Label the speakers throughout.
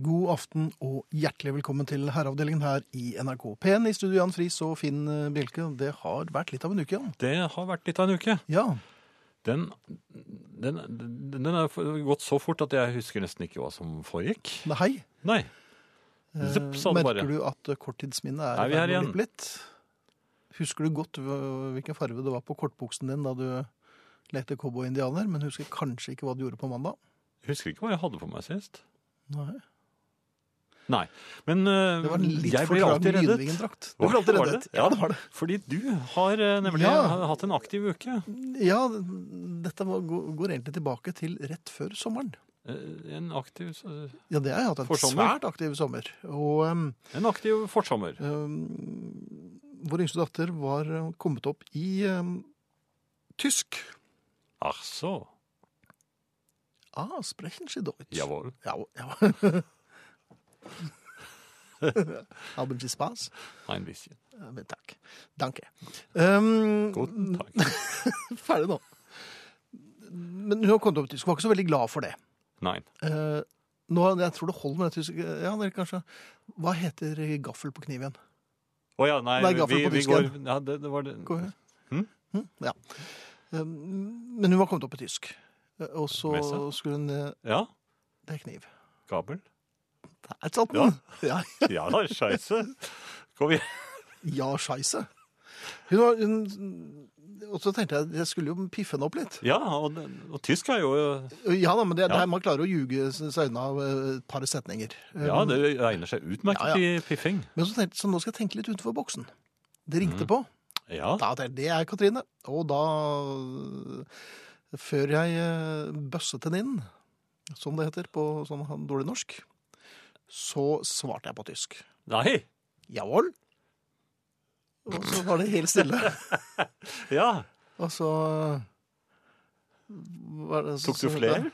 Speaker 1: God aften og hjertelig velkommen til Herreavdelingen her i NRK P1. I studio Jan Friis og Finn eh, Bjelke. Det har vært litt av en uke, Jan.
Speaker 2: Det har vært litt av en uke.
Speaker 1: Ja,
Speaker 2: Den, den, den har gått så fort at jeg husker nesten ikke hva som foregikk.
Speaker 1: nei, hei. Eh,
Speaker 2: Nei. Zup, sa det bare.
Speaker 1: Merker du at korttidsminnet er,
Speaker 2: Er vi
Speaker 1: i ferd
Speaker 2: her
Speaker 1: med å
Speaker 2: igjen?
Speaker 1: blippe litt? Husker du godt hva- hvilken farve det var på kortbuksen din da du lekte cowboy-indianer, men husker kanskje ikke hva du gjorde på mandag?
Speaker 2: Jeg husker ikke hva jeg hadde på meg sist.
Speaker 1: Nei.
Speaker 2: Nei. Men eh,
Speaker 1: Det var en litt
Speaker 2: jeg
Speaker 1: for
Speaker 2: blir
Speaker 1: trang
Speaker 2: alltid reddet.
Speaker 1: lynvingendrakt. Du
Speaker 2: Var-
Speaker 1: blir alltid
Speaker 2: var
Speaker 1: reddet.
Speaker 2: det?
Speaker 1: Ja, det var det.
Speaker 2: Fordi du har eh, nemlig
Speaker 1: Ja.
Speaker 2: hatt en aktiv uke.
Speaker 1: Ja, dette var, går går egentlig tilbake til rett før sommeren.
Speaker 2: Eh, En aktiv, eh,
Speaker 1: Ja, det har jeg hatt en
Speaker 2: Forsommer?
Speaker 1: svært aktiv sommer. Og ehm,
Speaker 2: en aktiv forsommer.
Speaker 1: ehm, vår yngste datter var eh, kommet opp i ehm, tysk.
Speaker 2: Ach så.
Speaker 1: Ah, sprechen Sie Deutsch?
Speaker 2: Jawohl.
Speaker 1: Ja, ja. Haben Sie Spaß?
Speaker 2: Ein bisschen.
Speaker 1: Ja, Men takk. Danke. Ehm,
Speaker 2: Guten Tag.
Speaker 1: ferdig nå. Men hun har kommet opp i tysk. Hun var ikke så veldig glad for det.
Speaker 2: Nei.
Speaker 1: Eh, nå, jeg tror det holder med det tyske. Ja, dere kanskje. Hva heter gaffel på kniv igjen?
Speaker 2: Å ja, nei,
Speaker 1: Nei, gaffel
Speaker 2: vi,
Speaker 1: på
Speaker 2: vi går
Speaker 1: disken.
Speaker 2: ja, det, det var det.
Speaker 1: Går det?
Speaker 2: Hm?
Speaker 1: Hm, Ja. Eh, Men hun var kommet opp i tysk. Eh, Og så
Speaker 2: Med seg.
Speaker 1: skulle hun eh,
Speaker 2: Ja,
Speaker 1: Det er kniv.
Speaker 2: Gabel.
Speaker 1: Det er et sånt noe. Ja,
Speaker 2: Ja, scheisse. Kom igjen.
Speaker 1: ja scheisse. Hun var, hun, og så tenkte jeg jeg skulle jo piffe henne opp litt.
Speaker 2: Ja, og, og tysk er jo
Speaker 1: Ja da, men det, det
Speaker 2: Ja.
Speaker 1: her, man klarer å ljuge seg unna eh, et par setninger.
Speaker 2: Ja, det egner seg utmerket
Speaker 1: Um, Ja,
Speaker 2: i piffing.
Speaker 1: Men så tenkte jeg så nå skal jeg tenke litt utenfor boksen. Det ringte
Speaker 2: Mm.
Speaker 1: på.
Speaker 2: Ja.
Speaker 1: Da tenkte jeg, det er Katrine. Og da, øh, før jeg øh, bøsset henne inn, som det heter på sånn han- dårlig norsk, så svarte jeg på tysk.
Speaker 2: Nei!
Speaker 1: Jawohl. Og så var det helt stille.
Speaker 2: Ja.
Speaker 1: Og så eh, var det-
Speaker 2: Tok du
Speaker 1: så-
Speaker 2: flere?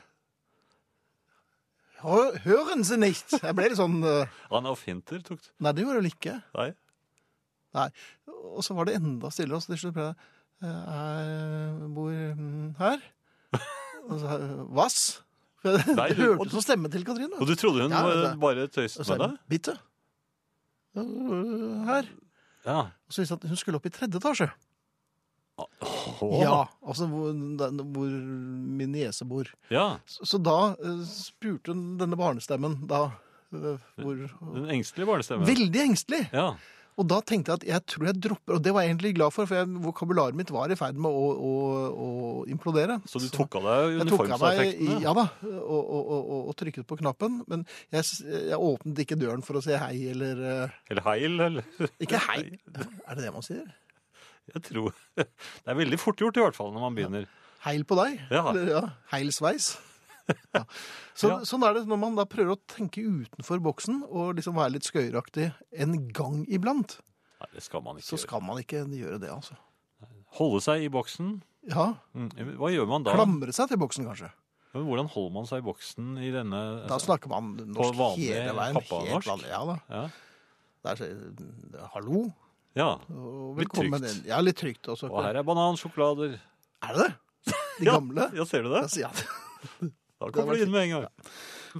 Speaker 1: Hør- Høren Sie nicht! Jeg ble litt sånn øh,
Speaker 2: Anna og Finter tok
Speaker 1: Nei, det gjorde jeg vel ikke.
Speaker 2: Nei.
Speaker 1: Og så var det enda stille, og så til slutt ble det eh, Jeg bor mm, her. Og så Hvass? Det
Speaker 2: Nei, du-
Speaker 1: hørtes ut som stemmen til Katrine.
Speaker 2: Og du trodde hun
Speaker 1: Ja, altså,
Speaker 2: var-
Speaker 1: det-
Speaker 2: bare tøyset
Speaker 1: Og så
Speaker 2: med
Speaker 1: er
Speaker 2: deg?
Speaker 1: det bitte. øh, Her.
Speaker 2: Ja.
Speaker 1: Og så viste det seg at hun skulle opp i tredje etasje.
Speaker 2: Åh.
Speaker 1: Ja, Altså hvor, den- hvor min niese bor.
Speaker 2: ja.
Speaker 1: Så, så da eh, spurte hun denne barnestemmen da eh, hvor
Speaker 2: Den engstelige barnestemmen.
Speaker 1: Veldig engstelig!
Speaker 2: Ja.
Speaker 1: Og da tenkte jeg at jeg tror jeg dropper Og det var jeg egentlig glad for, for jeg, vokabularet mitt var i ferd med å, å, å implodere.
Speaker 2: Så du tok av deg
Speaker 1: Jeg tok av meg,
Speaker 2: uniformseffektene?
Speaker 1: ja da, og, og, og, og- og trykket på knappen, men jeg, s- jeg åpnet ikke døren for å si hei, eller eh,
Speaker 2: Eller heil, eller
Speaker 1: Ikke hei, er det det man sier?
Speaker 2: Jeg tror Det er veldig fort gjort, i hvert fall, når man begynner.
Speaker 1: Heil på deg?
Speaker 2: Ja.
Speaker 1: Eller, ja heilsveis? Ja. Så,
Speaker 2: Ja.
Speaker 1: Sånn er det når man da prøver å tenke utenfor boksen og liksom være litt skøyeraktig en gang iblant.
Speaker 2: Nei, det skal man ikke
Speaker 1: Så skal man ikke gjøre det, altså.
Speaker 2: gjøre. Holde seg i boksen.
Speaker 1: Ja,
Speaker 2: Mm, Hva gjør man da?
Speaker 1: Klamre seg til boksen, kanskje.
Speaker 2: Men hvordan holder man seg i boksen i denne
Speaker 1: Da snakker man norsk
Speaker 2: vanlig
Speaker 1: hele veien. helt
Speaker 2: pappa-norsk?
Speaker 1: vanlig, Ja da.
Speaker 2: Ja.
Speaker 1: Det er, så- hallo,
Speaker 2: ja.
Speaker 1: og
Speaker 2: Litt
Speaker 1: velkommen
Speaker 2: trygt.
Speaker 1: inn. Ja, litt trygt. Og så
Speaker 2: Og her er banansjokolader.
Speaker 1: Er det det? De gamle?
Speaker 2: Ja, ser du det?
Speaker 1: Jeg sier at-
Speaker 2: Da
Speaker 1: Det var
Speaker 2: kommer du inn med en gang.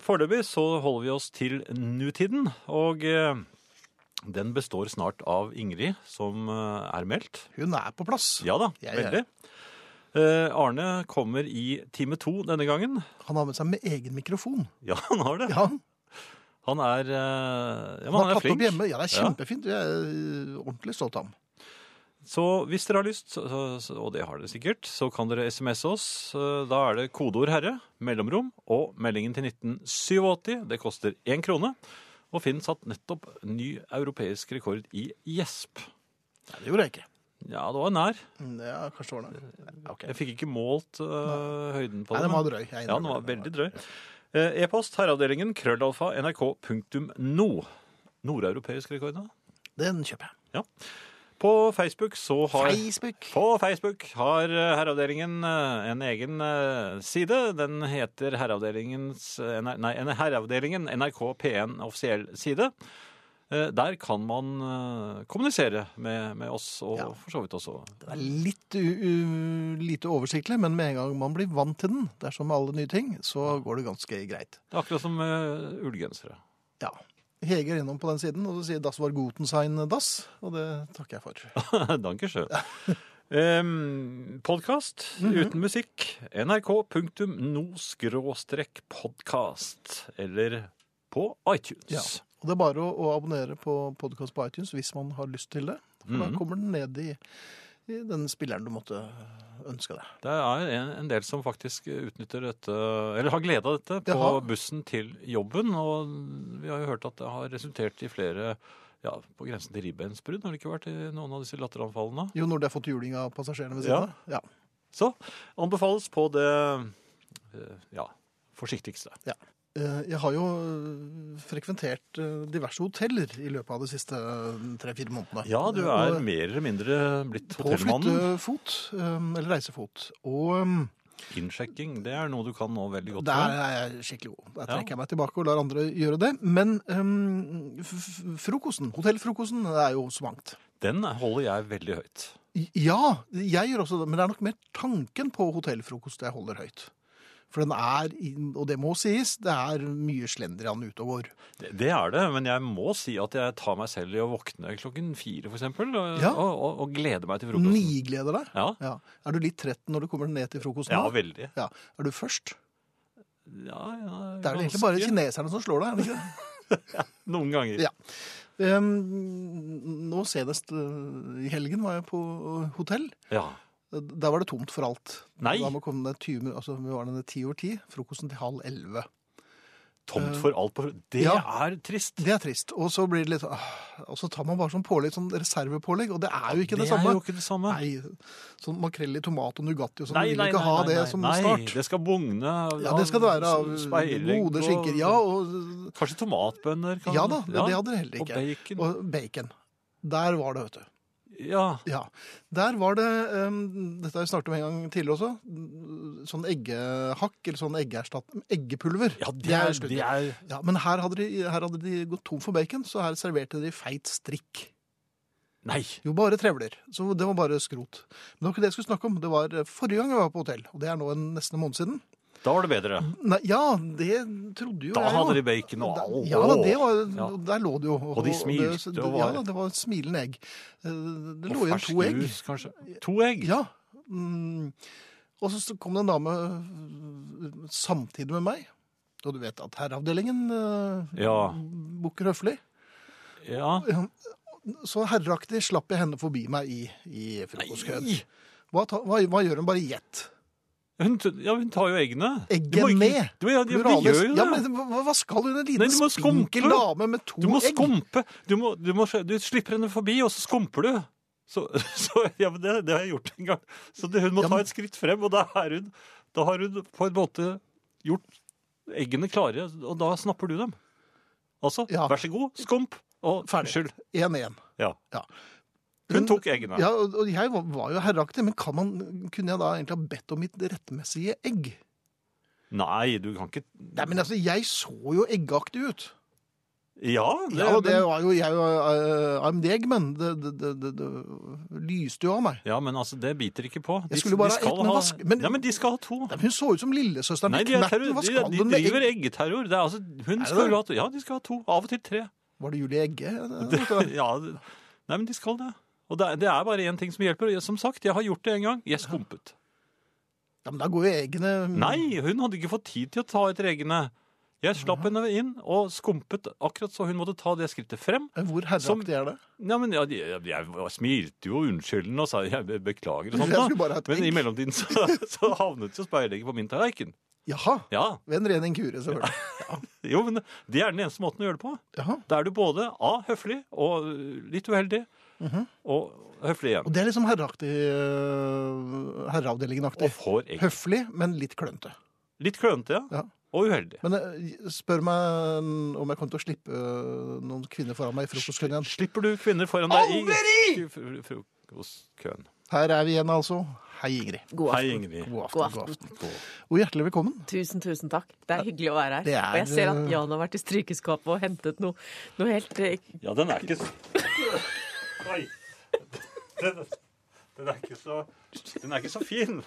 Speaker 2: Foreløpig så holder vi oss til nutiden, og eh, den består snart av Ingrid, som eh, er meldt.
Speaker 1: Hun er på plass.
Speaker 2: Ja da,
Speaker 1: Ja, ja.
Speaker 2: veldig. Eh, Arne kommer i time to denne gangen.
Speaker 1: Han har med seg med egen mikrofon.
Speaker 2: Ja, han har det.
Speaker 1: Ja, han,
Speaker 2: Han er, eh, ja, men
Speaker 1: har
Speaker 2: han
Speaker 1: tatt
Speaker 2: er
Speaker 1: opp
Speaker 2: flink.
Speaker 1: hjemme. Ja, det er
Speaker 2: Ja.
Speaker 1: kjempefint. Jeg er øh, ordentlig stolt av ham.
Speaker 2: Så hvis dere har lyst, så- så- så- og det har dere sikkert, så kan dere SMS oss. Eh, Da er det kodeord herre, mellomrom og meldingen til 1987. Det koster én krone. Og Finn satt nettopp ny europeisk rekord i gjesp.
Speaker 1: Nei, det gjorde jeg ikke.
Speaker 2: Ja, det var nær.
Speaker 1: Mm, Ja, kanskje det var det. Ja, ok.
Speaker 2: Jeg fikk ikke målt eh, høyden på
Speaker 1: Nei,
Speaker 2: det.
Speaker 1: den var
Speaker 2: men-
Speaker 1: drøy. Jeg
Speaker 2: Ja, den var
Speaker 1: innrømmer
Speaker 2: veldig
Speaker 1: det.
Speaker 2: drøy. Eh, E-post herreavdelingen krøllalfa nrk.no. Nordeuropeisk rekord, da?
Speaker 1: Den kjøper jeg.
Speaker 2: På Facebook så har
Speaker 1: Facebook.
Speaker 2: På Facebook har eh, Herreavdelingen eh, en egen eh, side. Den heter Herreavdelingens eh, NR Nei, en- Herreavdelingen NRK P1 offisiell side. Eh, Der kan man eh, kommunisere med, med oss, og
Speaker 1: Ja.
Speaker 2: for så vidt også
Speaker 1: Det er litt u u lite oversiktlig, men med en gang man blir vant til den, det er som med alle nye ting, så går det ganske greit.
Speaker 2: Det er akkurat som eh, ullgensere.
Speaker 1: Ja. Hege er innom på den siden, og så sier 'Das war guten sein das', og det takker jeg for.
Speaker 2: Dankeschön. Um, Podkast
Speaker 1: Mhm.
Speaker 2: uten musikk. nrk.no-podkast. Eller på iTunes.
Speaker 1: Ja. Og det er bare å, å abonnere på podkast på iTunes hvis man har lyst til det. For
Speaker 2: Mhm.
Speaker 1: da kommer den ned i, i den spilleren du måtte ønske deg.
Speaker 2: Det er en, en del som faktisk utnytter dette, eller har glede av dette, på
Speaker 1: Jaha.
Speaker 2: bussen til jobben. Og vi har jo hørt at det har resultert i flere ja, på grensen til ribbeinsbrudd, har det ikke vært i noen av disse latteranfallene.
Speaker 1: Jo, når de har fått juling av passasjerene ved siden av.
Speaker 2: Ja.
Speaker 1: Ja.
Speaker 2: Så anbefales på det eh, ja, forsiktigste.
Speaker 1: Eh, Jeg har jo eh, frekventert eh, diverse hoteller i løpet av de siste tre-fire månedene.
Speaker 2: Ja, du
Speaker 1: Og-
Speaker 2: er mer eller mindre blitt
Speaker 1: På
Speaker 2: hotellmannen.
Speaker 1: flyttefot, eh, eller reisefot. Og eh,
Speaker 2: Innsjekking, det er noe du kan nå veldig godt.
Speaker 1: der
Speaker 2: for.
Speaker 1: er jeg skikkelig god. Der
Speaker 2: Ja.
Speaker 1: trekker jeg meg tilbake og lar andre gjøre det. Men eh, f- f- frokosten, hotellfrokosten, det er jo så mangt.
Speaker 2: Den holder jeg veldig høyt.
Speaker 1: I- Ja, jeg gjør også det, men det er nok mer tanken på hotellfrokost jeg holder høyt. For den er, i- og det må sies, det er mye slendrian ute og går.
Speaker 2: Det, det er det, men jeg må si at jeg tar meg selv i å våkne klokken fire, for eksempel, og,
Speaker 1: Ja.
Speaker 2: og, og, og glede meg til frokosten.
Speaker 1: Nigleder deg.
Speaker 2: Ja,
Speaker 1: Ja. Er du litt trett når du kommer ned til frokosten?
Speaker 2: ja
Speaker 1: da?
Speaker 2: veldig.
Speaker 1: Ja. Er du først?
Speaker 2: Ja, ja,
Speaker 1: Det er vel egentlig
Speaker 2: ganske.
Speaker 1: bare kineserne som slår deg. er det ikke det?
Speaker 2: Noen ganger.
Speaker 1: Ja. Ehm, nå senest eh, i helgen var jeg på eh, hotell.
Speaker 2: Ja.
Speaker 1: Der var det tomt for alt.
Speaker 2: Nei.
Speaker 1: Da må komme ned 20 minutter, altså vi var nede ti over ti, frokosten til halv elleve.
Speaker 2: Tomt for alt på
Speaker 1: Eh,
Speaker 2: Det
Speaker 1: ja.
Speaker 2: er trist.
Speaker 1: Det er trist. Og så blir det litt ah, Og så tar man bare sånn pålegg, sånn reservepålegg, og det er jo ikke det,
Speaker 2: er
Speaker 1: samme.
Speaker 2: jo ikke det samme.
Speaker 1: Nei. Sånn makrell i tomat og nougat og sånn. Du vil ikke ha det som
Speaker 2: nei,
Speaker 1: start.
Speaker 2: det skal bugne.
Speaker 1: Ja, det skal det være av
Speaker 2: speiling
Speaker 1: gode
Speaker 2: på-
Speaker 1: skinker. Ja, og
Speaker 2: Kanskje tomatbønner? Kan,
Speaker 1: Ja da, det, det hadde det heller
Speaker 2: Og
Speaker 1: ikke.
Speaker 2: bacon.
Speaker 1: Og bacon. Der var det, vet du.
Speaker 2: Ja.
Speaker 1: Ja. Der var det ehm, Dette har vi snakket om en gang tidligere også. mm, Sånn eggehakk eller sånn eggeerstatt... Eggepulver.
Speaker 2: ja, det er,
Speaker 1: slutt.
Speaker 2: det er
Speaker 1: Ja, Men her hadde, de, her hadde de gått tom for bacon, så her serverte de feit strikk.
Speaker 2: Nei.
Speaker 1: Jo, bare trevler. Så det var bare skrot. Men det var ikke det jeg skulle snakke om. Det var eh, forrige gang jeg var på hotell, og det er nå en nesten en måned siden.
Speaker 2: Da var det bedre.
Speaker 1: Nei, ja, det trodde jo
Speaker 2: Da
Speaker 1: jeg. jo.
Speaker 2: hadde de bacon og alt.
Speaker 1: Ja, da, det var,
Speaker 2: Ja.
Speaker 1: Der lå det jo.
Speaker 2: Og de
Speaker 1: det-
Speaker 2: smilte og
Speaker 1: Ja,
Speaker 2: var-
Speaker 1: da, det var et smilende egg. Eh, Det
Speaker 2: Og
Speaker 1: lå igjen
Speaker 2: fersk
Speaker 1: to egg.
Speaker 2: Jus, kanskje. To egg?
Speaker 1: Ja. Mm. Og så så kom det en dame øh, samtidig med meg. Og du vet at herreavdelingen øh,
Speaker 2: Ja.
Speaker 1: bukker høflig.
Speaker 2: Ja.
Speaker 1: Så herreaktig slapp jeg henne forbi meg i, i frokostkøen.
Speaker 2: Nei.
Speaker 1: Hva, ta- hva, hva gjør hun? Bare gjett.
Speaker 2: Hun, t- ja, hun tar jo eggene.
Speaker 1: Egget
Speaker 2: Du må ikke-
Speaker 1: ned.
Speaker 2: Du, ja, de, de
Speaker 1: Pluralis.
Speaker 2: gjør jo det.
Speaker 1: Ja, men hva, hva skal hun? En
Speaker 2: Nei,
Speaker 1: liten
Speaker 2: du må
Speaker 1: spinkel
Speaker 2: skumpe.
Speaker 1: dame med to
Speaker 2: Du må
Speaker 1: egg?
Speaker 2: skumpe. Du, må, du, må, du slipper henne forbi, og så skumper du. Så, så, ja, men det, det har jeg gjort en gang. Så det, hun må
Speaker 1: Ja,
Speaker 2: ta
Speaker 1: men-
Speaker 2: et skritt frem, og da, er hun, da har hun på en måte gjort eggene klare, og da snapper du dem. Altså,
Speaker 1: Ja.
Speaker 2: vær så god, skump, og
Speaker 1: Ferdig.
Speaker 2: skyld.
Speaker 1: 1-1.
Speaker 2: Ja.
Speaker 1: Ja.
Speaker 2: Hun tok eggene.
Speaker 1: Ja, og og jeg var, var jo herreaktig, men kan man, kunne jeg da egentlig ha bedt om mitt rettmessige egg?
Speaker 2: Nei, du kan ikke
Speaker 1: Nei, men altså, jeg så jo eggaktig ut.
Speaker 2: Ja, det,
Speaker 1: Ja, og det
Speaker 2: men,
Speaker 1: var jo jeg og eh, AMD Eggman. Det, det, det, det, det lyste jo av meg.
Speaker 2: ja, men altså, det biter ikke på.
Speaker 1: Jeg skulle bare ha ett, men hva sk- men-
Speaker 2: ja, men de skal ha to.
Speaker 1: Nei, men Hun så ut som lillesøsteren
Speaker 2: Nei,
Speaker 1: til
Speaker 2: de, er terror,
Speaker 1: Knerten. Hva
Speaker 2: de,
Speaker 1: skal
Speaker 2: de
Speaker 1: hun med
Speaker 2: driver
Speaker 1: egg?
Speaker 2: eggeterror. Det er, altså, hun
Speaker 1: det
Speaker 2: skal
Speaker 1: det?
Speaker 2: jo ha to. Ja, de skal ha to. Av og til tre.
Speaker 1: Var det Julie Egge?
Speaker 2: ja, det- nei, men de skal det. Og det, er- det er bare én ting som hjelper. Jeg- Som sagt, jeg har gjort det en gang. Jeg skumpet.
Speaker 1: Ja, men da går jo eggene
Speaker 2: Nei, hun hadde ikke fått tid til å ta etter eggene. Jeg slapp henne inn og skumpet akkurat så hun måtte ta det skrittet frem.
Speaker 1: Hvor
Speaker 2: Som-
Speaker 1: herreaktig er det?
Speaker 2: Ja, men jeg, jeg, jeg smilte jo unnskyldende og sa jeg be- beklager
Speaker 1: Jeg
Speaker 2: og sånt.
Speaker 1: skulle
Speaker 2: da.
Speaker 1: bare ha et
Speaker 2: Men i
Speaker 1: egg.
Speaker 2: mellomtiden så, så havnet jo speilegget på min tallerken.
Speaker 1: Jaha.
Speaker 2: Ja,
Speaker 1: Ved en ren inkurie, selvfølgelig.
Speaker 2: jo, men det er den eneste måten å gjøre det på.
Speaker 1: Jaha.
Speaker 2: Da er du både A, høflig og ø, litt uheldig, og høflig igjen.
Speaker 1: Mhm. Og det er liksom herreaktig øh, Herreavdelingen-aktig.
Speaker 2: Og får egg.
Speaker 1: Høflig, men litt klønete.
Speaker 2: Litt klønete, ja.
Speaker 1: Ja.
Speaker 2: Og uheldig.
Speaker 1: Men øh, spør meg om jeg kommer til å slippe øh, noen kvinner foran meg i frokostkøen igjen.
Speaker 2: Slipper du kvinner foran deg i fr- frokostkøen?
Speaker 1: Her er vi igjen, altså. Hei, Ingrid.
Speaker 3: God
Speaker 2: Hei,
Speaker 3: aften.
Speaker 2: Ingrid.
Speaker 1: God aften.
Speaker 3: God
Speaker 1: God
Speaker 3: aften.
Speaker 1: aften. Og hjertelig velkommen.
Speaker 3: Tusen, tusen takk. Det er hyggelig å være her.
Speaker 1: Det er-
Speaker 3: Og jeg ser at
Speaker 2: eh,
Speaker 3: Jan har vært i strykeskapet og hentet noe, noe helt eh,
Speaker 2: Ja, den er ikke så Oi. Den, den er ikke så Den er ikke så fin.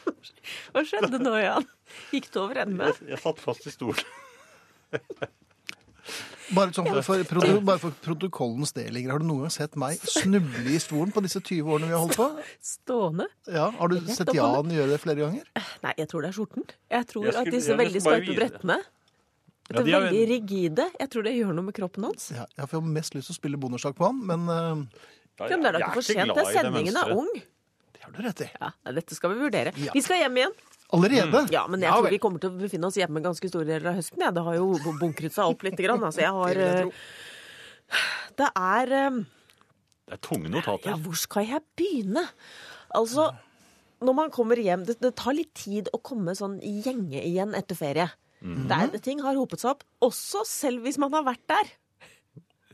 Speaker 3: Hva skjedde nå, Jan? Gikk det over ende?
Speaker 2: Jeg satt fast i stolen.
Speaker 1: Bare, sånn for, for, proto- bare for protokollens del, Ingrid. Har du noen gang sett meg snuble i stolen på disse 20 årene vi har holdt på?
Speaker 3: Stående?
Speaker 1: Ja, Har du
Speaker 3: Rett
Speaker 1: sett
Speaker 3: opp og
Speaker 1: Jan gjøre det flere ganger?
Speaker 3: Nei, jeg tror det er skjorten. Jeg tror
Speaker 2: Jeg skulle-
Speaker 3: at disse
Speaker 2: jeg har
Speaker 3: veldig
Speaker 2: nesten bare
Speaker 3: skarpe
Speaker 2: videre.
Speaker 3: brettene
Speaker 2: Ja,
Speaker 3: det
Speaker 2: de er
Speaker 3: er veldig rigide. Jeg tror det gjør noe med kroppen hans.
Speaker 1: Ja, jeg får mest lyst til å spille bondeslag på han, men eh,
Speaker 2: Ja,
Speaker 3: Ja, men det er da
Speaker 2: jeg
Speaker 3: ikke for
Speaker 2: ikke
Speaker 3: sent.
Speaker 2: glad
Speaker 3: Det
Speaker 2: i
Speaker 3: er
Speaker 2: det
Speaker 3: sendingen
Speaker 2: mønsteret.
Speaker 3: er ung.
Speaker 1: det har du rett i.
Speaker 3: Ja, dette skal vi vurdere.
Speaker 1: Ja.
Speaker 3: Vi skal hjem igjen.
Speaker 1: Allerede?
Speaker 3: Mm. Ja, men jeg tror vi kommer til å befinne oss hjemme ganske store deler av høsten. Ja. Det har jo bu- bunkret seg opp litt. Grann. Altså, jeg har,
Speaker 1: vil jeg tro.
Speaker 3: eh, det er eh,
Speaker 2: Det er tunge notater.
Speaker 3: Ja, hvor skal jeg begynne? Altså, når man kommer hjem Det, det tar litt tid å komme sånn i gjenge igjen etter ferie.
Speaker 1: Mhm.
Speaker 3: Der, ting har hopet seg opp, også selv hvis man har vært der.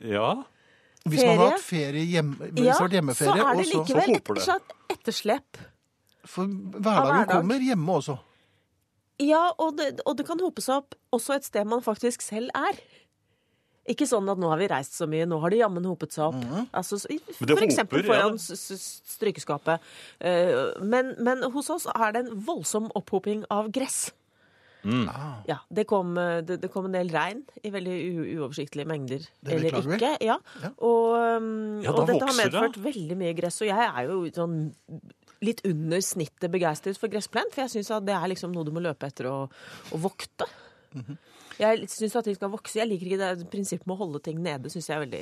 Speaker 2: Ja.
Speaker 1: Hvis man har
Speaker 3: Ferie?
Speaker 1: hatt ferie hjemme, hvis
Speaker 3: Ja,
Speaker 1: det har vært
Speaker 3: så
Speaker 1: hjemmeferie,
Speaker 3: er
Speaker 1: og
Speaker 3: det
Speaker 1: så,
Speaker 2: så
Speaker 3: likevel et
Speaker 2: hoper det.
Speaker 3: slags etterslep.
Speaker 1: For
Speaker 3: Ja,
Speaker 1: hverdagen
Speaker 3: hverdag.
Speaker 1: kommer hjemme også.
Speaker 3: Ja, og det, og det kan hope seg opp også et sted man faktisk selv er. Ikke sånn at nå har vi reist så mye, nå har det jammen hopet seg opp. Altså, så-
Speaker 2: Mhm. Men det
Speaker 3: for eksempel
Speaker 2: hoper, ja.
Speaker 3: foran s- s- strykeskapet. Eh, Men, men hos oss er det en voldsom opphoping av gress.
Speaker 2: Mm.
Speaker 1: Ah.
Speaker 3: Ja, det kom, eh, det, det kom en del regn i veldig u uoversiktlige mengder.
Speaker 1: Det
Speaker 3: eller
Speaker 1: beklager vi.
Speaker 3: ikke. Ja. Og, um,
Speaker 2: Ja, da
Speaker 3: og dette har
Speaker 2: vokser det.
Speaker 3: medført veldig mye gress. Og jeg er jo sånn litt under snittet begeistret for gressplen, for jeg syns at det er liksom noe du må løpe etter og, og vokte.
Speaker 2: Mhm.
Speaker 3: Jeg syns at ting skal vokse. Jeg liker ikke det prinsippet med å holde ting nede. Synes jeg er veldig...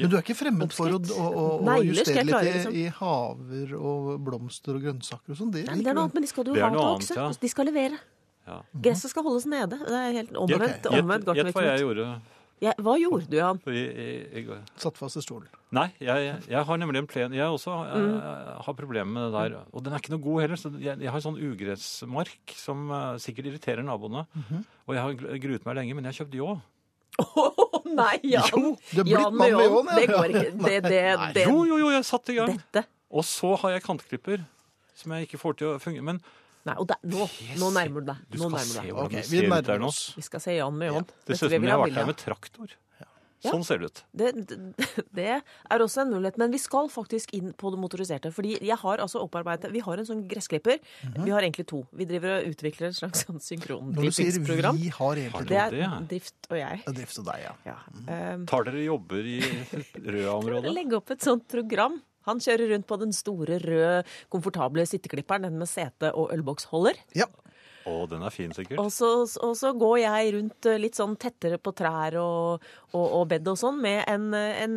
Speaker 1: Men du er ikke fremmed for å, å, å, å
Speaker 3: Negler skal
Speaker 1: justere
Speaker 3: jeg klare,
Speaker 1: litt i,
Speaker 3: liksom.
Speaker 1: i haver og blomster og grønnsaker og sånn? Det
Speaker 3: Nei, men det er noe annet, men de skal du
Speaker 2: Det er
Speaker 3: ha til
Speaker 2: noe
Speaker 3: å
Speaker 2: annet,
Speaker 3: vokse.
Speaker 2: ja.
Speaker 3: De skal levere.
Speaker 2: Ja.
Speaker 3: Gresset skal holdes nede. Det er helt omvendt.
Speaker 1: ok.
Speaker 3: omvendt
Speaker 2: Gjett gjett hva jeg
Speaker 3: Gartnervirksomhet.
Speaker 2: gjorde
Speaker 3: Ja, Hva gjorde du, Jan?
Speaker 2: i, i, i går.
Speaker 1: Satt fast i stolen.
Speaker 2: Nei, jeg, jeg har nemlig en plen. Jeg også
Speaker 3: Mm.
Speaker 2: eh, har problemer med det der. Og den er ikke noe god heller. Så jeg, jeg har sånn ugressmark som eh, sikkert irriterer naboene.
Speaker 3: Mhm.
Speaker 2: Og jeg har gl- gruet meg lenge, men jeg har kjøpt ljå.
Speaker 3: Å nei, Jan!
Speaker 1: Jo, du er blitt
Speaker 3: Jan
Speaker 1: mann med
Speaker 3: Leon,
Speaker 1: Jan, ja.
Speaker 3: Det går ikke. Det, det, det,
Speaker 2: Jo, jo, jo, jeg satte i gang.
Speaker 3: dette.
Speaker 2: Og så har jeg kantklipper som jeg ikke får til å fungere. Men
Speaker 3: Nei, og der, nå, nå nærmer du deg.
Speaker 2: du
Speaker 3: Nå
Speaker 2: skal se
Speaker 3: nærmer du deg.
Speaker 2: hvordan
Speaker 1: Ok,
Speaker 2: det
Speaker 1: vi
Speaker 2: ser ut der
Speaker 1: nærmer
Speaker 2: nå.
Speaker 1: oss.
Speaker 3: Vi skal se Jan med Jan.
Speaker 2: Det
Speaker 3: Dette
Speaker 2: ser ut
Speaker 3: vil
Speaker 2: som jeg har
Speaker 3: ha
Speaker 2: vært her
Speaker 3: bilde
Speaker 2: med traktor. Sånn ser det ut.
Speaker 3: Det, det, det er også en mulighet, men vi skal faktisk inn på det motoriserte. Fordi jeg har altså opparbeidet Vi har en sånn gressklipper.
Speaker 2: Mhm.
Speaker 3: Vi har egentlig to. Vi driver og utvikler et slags
Speaker 1: Når
Speaker 3: sånn
Speaker 1: du sier 'vi
Speaker 3: synkrondriftingsprogram.
Speaker 1: har egentlig
Speaker 3: Det
Speaker 2: Har
Speaker 3: er
Speaker 2: du det, ja? Mhm.
Speaker 3: Drift og jeg.
Speaker 1: det er drift og deg, ja.
Speaker 3: Ja. Um,
Speaker 2: Tar dere jobber i Røa-området?
Speaker 3: legge opp et sånt program. Han kjører rundt på den store, røde, komfortable sitteklipperen, den med sete og ølboksholder.
Speaker 1: ja.
Speaker 2: Å, den er fin, sikkert.
Speaker 3: Og så, og så går jeg rundt eh, litt sånn tettere på trær og, og, og bed og sånn med en, eh, en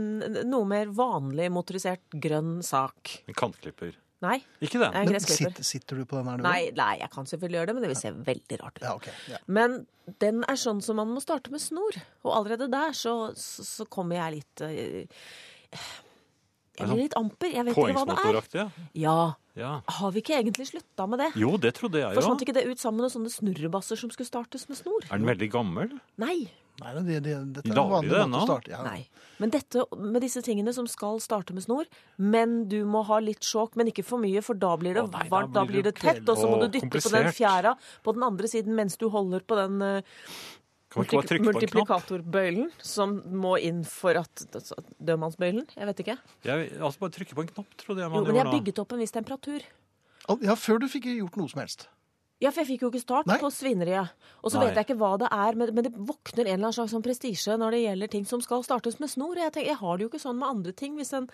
Speaker 3: noe mer vanlig motorisert grønn sak.
Speaker 2: En kantklipper.
Speaker 3: Nei,
Speaker 2: Ikke den.
Speaker 3: jeg er
Speaker 1: Men
Speaker 3: gressklipper.
Speaker 1: sitter, sitter du på den her nå?
Speaker 3: Nei, nei, jeg kan selvfølgelig gjøre det, men det vil se veldig rart ut.
Speaker 1: Ja, ok. Ja.
Speaker 3: Men den er sånn som man må starte med snor. Og allerede der så, så, så kommer jeg litt eh, Jeg blir litt amper. Jeg vet ikke hva det er.
Speaker 2: Poengsmotoraktig.
Speaker 3: Ja. sånn
Speaker 2: Ja.
Speaker 3: Har vi ikke egentlig slutta med det?
Speaker 2: Jo, det trodde jeg jo.
Speaker 3: Forsvant ikke det ut sammen med sånne snurrebasser som skulle startes med snor?
Speaker 2: Er den veldig gammel?
Speaker 3: Nei.
Speaker 1: Nei, men det, det, dette er en
Speaker 2: Lager
Speaker 1: vanlig
Speaker 2: de
Speaker 1: måte
Speaker 2: det
Speaker 1: å
Speaker 2: ennå?
Speaker 1: starte. Ja.
Speaker 3: Nei. Men dette med disse tingene som skal starte med snor, men du må ha litt sjåk, men ikke for mye, for da blir det
Speaker 2: Å nei, da
Speaker 3: varmt, da
Speaker 2: blir
Speaker 3: blir
Speaker 2: det
Speaker 3: det tett, og så må
Speaker 2: kvelden.
Speaker 3: du
Speaker 2: Å,
Speaker 3: dytte på den
Speaker 2: komplisert.
Speaker 3: fjæra på den andre siden mens du holder på den eh,
Speaker 2: Kan man ikke bare
Speaker 3: multipli-
Speaker 2: trykke på en knapp?
Speaker 3: multiplikatorbøylen som må inn for at altså, Dødmannsbøylen? Jeg vet ikke.
Speaker 2: Jeg, altså bare trykke på en knapp, trodde jeg
Speaker 3: Jo,
Speaker 2: man
Speaker 3: men jeg
Speaker 2: gjorde da.
Speaker 3: bygget opp en viss temperatur.
Speaker 1: Al- ja, før du fikk gjort noe som helst.
Speaker 3: Ja, for jeg fikk jo ikke start
Speaker 1: Nei.
Speaker 3: på svineriet. Og så
Speaker 2: Nei.
Speaker 3: vet jeg ikke hva det er, men, men det våkner en eller annen slags sånn prestisje når det gjelder ting som skal startes med snor. Og Jeg, tenker, jeg har det jo ikke sånn med andre ting hvis en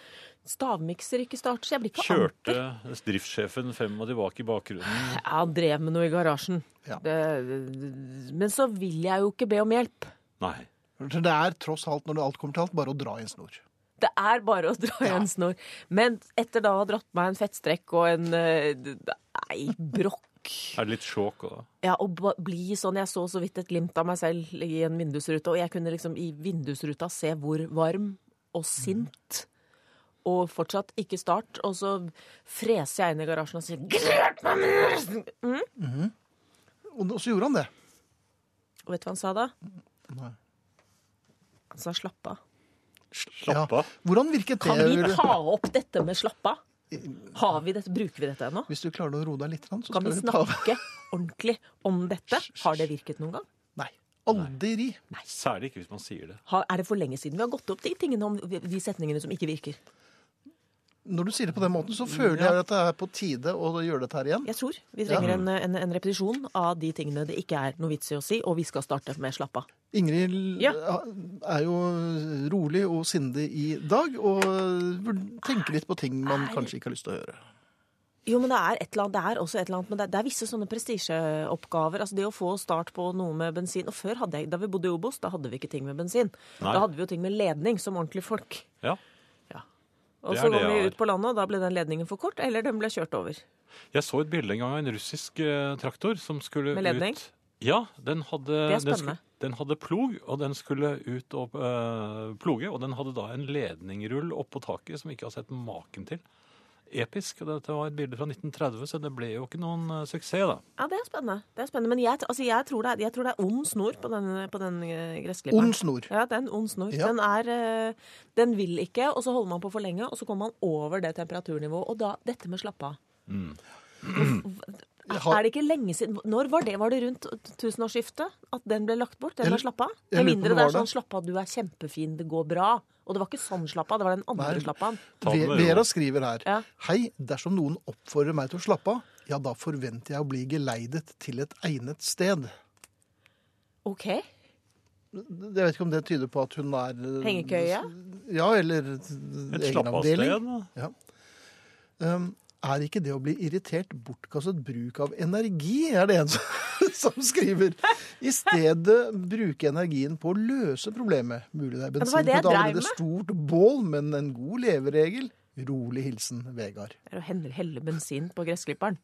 Speaker 3: stavmikser ikke starter. Så jeg blir ikke amper.
Speaker 2: Kjørte driftssjefen frem og tilbake i bakgrunnen.
Speaker 3: Ja, han drev med noe i garasjen.
Speaker 1: Ja.
Speaker 3: Det, det- men så vil jeg jo ikke be om hjelp.
Speaker 2: Nei.
Speaker 1: For Det er tross alt, når det alt kommer til alt, bare å dra i en snor.
Speaker 3: Det er bare å dra i en snor. Men etter da å ha dratt meg en fettstrekk og en eh, d- Nei, brokk.
Speaker 2: Er det litt sjokk òg?
Speaker 3: Ja, og ba- bli sånn. Jeg så så vidt et glimt av meg selv i en vindusrute, og jeg kunne liksom i vindusruta se hvor varm og sint og fortsatt ikke start. Og så freser jeg inn i garasjen og sier «Grep meg med resten!»
Speaker 1: Og og så gjorde han det.
Speaker 3: Og vet du hva han sa da?
Speaker 1: Nei.
Speaker 3: Han sa slapp av.
Speaker 2: Slapp av.
Speaker 1: Hvordan virket det?
Speaker 3: Kan vi
Speaker 1: Ulrik?
Speaker 3: ta opp dette med slapp av? Har vi dette? Bruker vi dette ennå?
Speaker 1: Hvis du klarer å roe deg litt, så
Speaker 3: Kan
Speaker 1: skal
Speaker 3: vi
Speaker 1: du ta av.
Speaker 3: snakke ordentlig om dette? Har det virket noen gang?
Speaker 1: Nei. Aldri.
Speaker 2: Særlig ikke hvis man sier det.
Speaker 3: Har- Er det for lenge siden vi har gått opp de tingene om de setningene som ikke virker?
Speaker 1: Når du sier det på den måten, så føler
Speaker 2: Ja.
Speaker 1: jeg at det er på tide å gjøre dette her igjen.
Speaker 3: Jeg tror vi trenger
Speaker 2: Ja.
Speaker 3: en, en, en repetisjon av de tingene det ikke er noe vits i å si, og vi skal starte med slapp av.
Speaker 1: Ingrid eh,
Speaker 3: Ja.
Speaker 1: er jo rolig og sindig i dag, og vurd- tenker litt på ting man
Speaker 3: Er-
Speaker 1: kanskje ikke har lyst til å høre.
Speaker 3: Jo, men det er, et eller annet, det er også et eller annet, men det er, det er visse sånne prestisjeoppgaver. Altså det å få start på noe med bensin. Og før hadde jeg, da vi bodde i Obos, da hadde vi ikke ting med bensin.
Speaker 2: Nei.
Speaker 3: Da hadde vi jo ting med ledning, som ordentlige folk.
Speaker 2: Ja.
Speaker 3: Og
Speaker 2: Det
Speaker 3: så
Speaker 2: er det
Speaker 3: kom
Speaker 2: jeg
Speaker 3: vi
Speaker 2: har.
Speaker 3: ut på landet, og da ble den ledningen for kort, eller den ble kjørt over.
Speaker 2: Jeg så et bilde en gang av en russisk eh, traktor som skulle
Speaker 3: Med ledning?
Speaker 2: ut Ja, den hadde,
Speaker 3: Det er
Speaker 2: den
Speaker 3: spennende.
Speaker 2: skulle, den hadde plog, og den skulle ut og eh, ploge. Og den hadde da en ledningrull oppå taket som vi ikke har sett maken til. Episk. og Dette var et bilde fra 1930, så det ble jo ikke noen eh, suksess, da.
Speaker 3: Ja, det er spennende. Det er spennende. Men jeg, altså, jeg, tror det er, jeg tror det er ond snor på den, på den eh, gressklipperen.
Speaker 1: Ond snor.
Speaker 3: Ja, det er en ond snor.
Speaker 1: Ja.
Speaker 3: Den, er, eh, den vil ikke, og så holder man på for lenge, og så kommer man over det temperaturnivået. Og da dette med slappe av.
Speaker 2: Mm.
Speaker 1: Jeg har-
Speaker 3: Er det ikke lenge siden Når var det? Var det rundt tusenårsskiftet at den ble lagt bort? Den
Speaker 1: Jeg-
Speaker 3: med slappe av?
Speaker 1: jeg
Speaker 3: Med
Speaker 1: lurer på om
Speaker 3: mindre
Speaker 1: det
Speaker 3: det er
Speaker 1: var
Speaker 3: sånn slappe av, du er kjempefin, det går bra. Og det var ikke sånn slappe av, det var den
Speaker 1: Nei.
Speaker 3: andre slappe av.
Speaker 2: Ta det
Speaker 1: Ve-
Speaker 2: med ro.
Speaker 1: Vera skriver her.
Speaker 3: Ja.
Speaker 1: Hei, dersom noen oppfordrer meg til å slappe av, ja, da forventer jeg å bli geleidet til et egnet sted.
Speaker 3: OK.
Speaker 1: Jeg vet ikke om det tyder på at hun er eh,
Speaker 3: Hengekøye?
Speaker 1: Ja, eller
Speaker 2: Et slappavsted.
Speaker 1: egenavdeling.
Speaker 2: da.
Speaker 1: Um, er ikke det å bli irritert bortkastet bruk av energi, er det en som, som skriver. I stedet bruke energien på å løse problemet. Mulig det er
Speaker 3: det var
Speaker 1: bensin på
Speaker 3: det jeg
Speaker 1: et
Speaker 3: dreiv
Speaker 1: allerede stort bål, men en god leveregel. Rolig hilsen Vegard.
Speaker 3: Det er å helle, helle bensin på gressklipperen.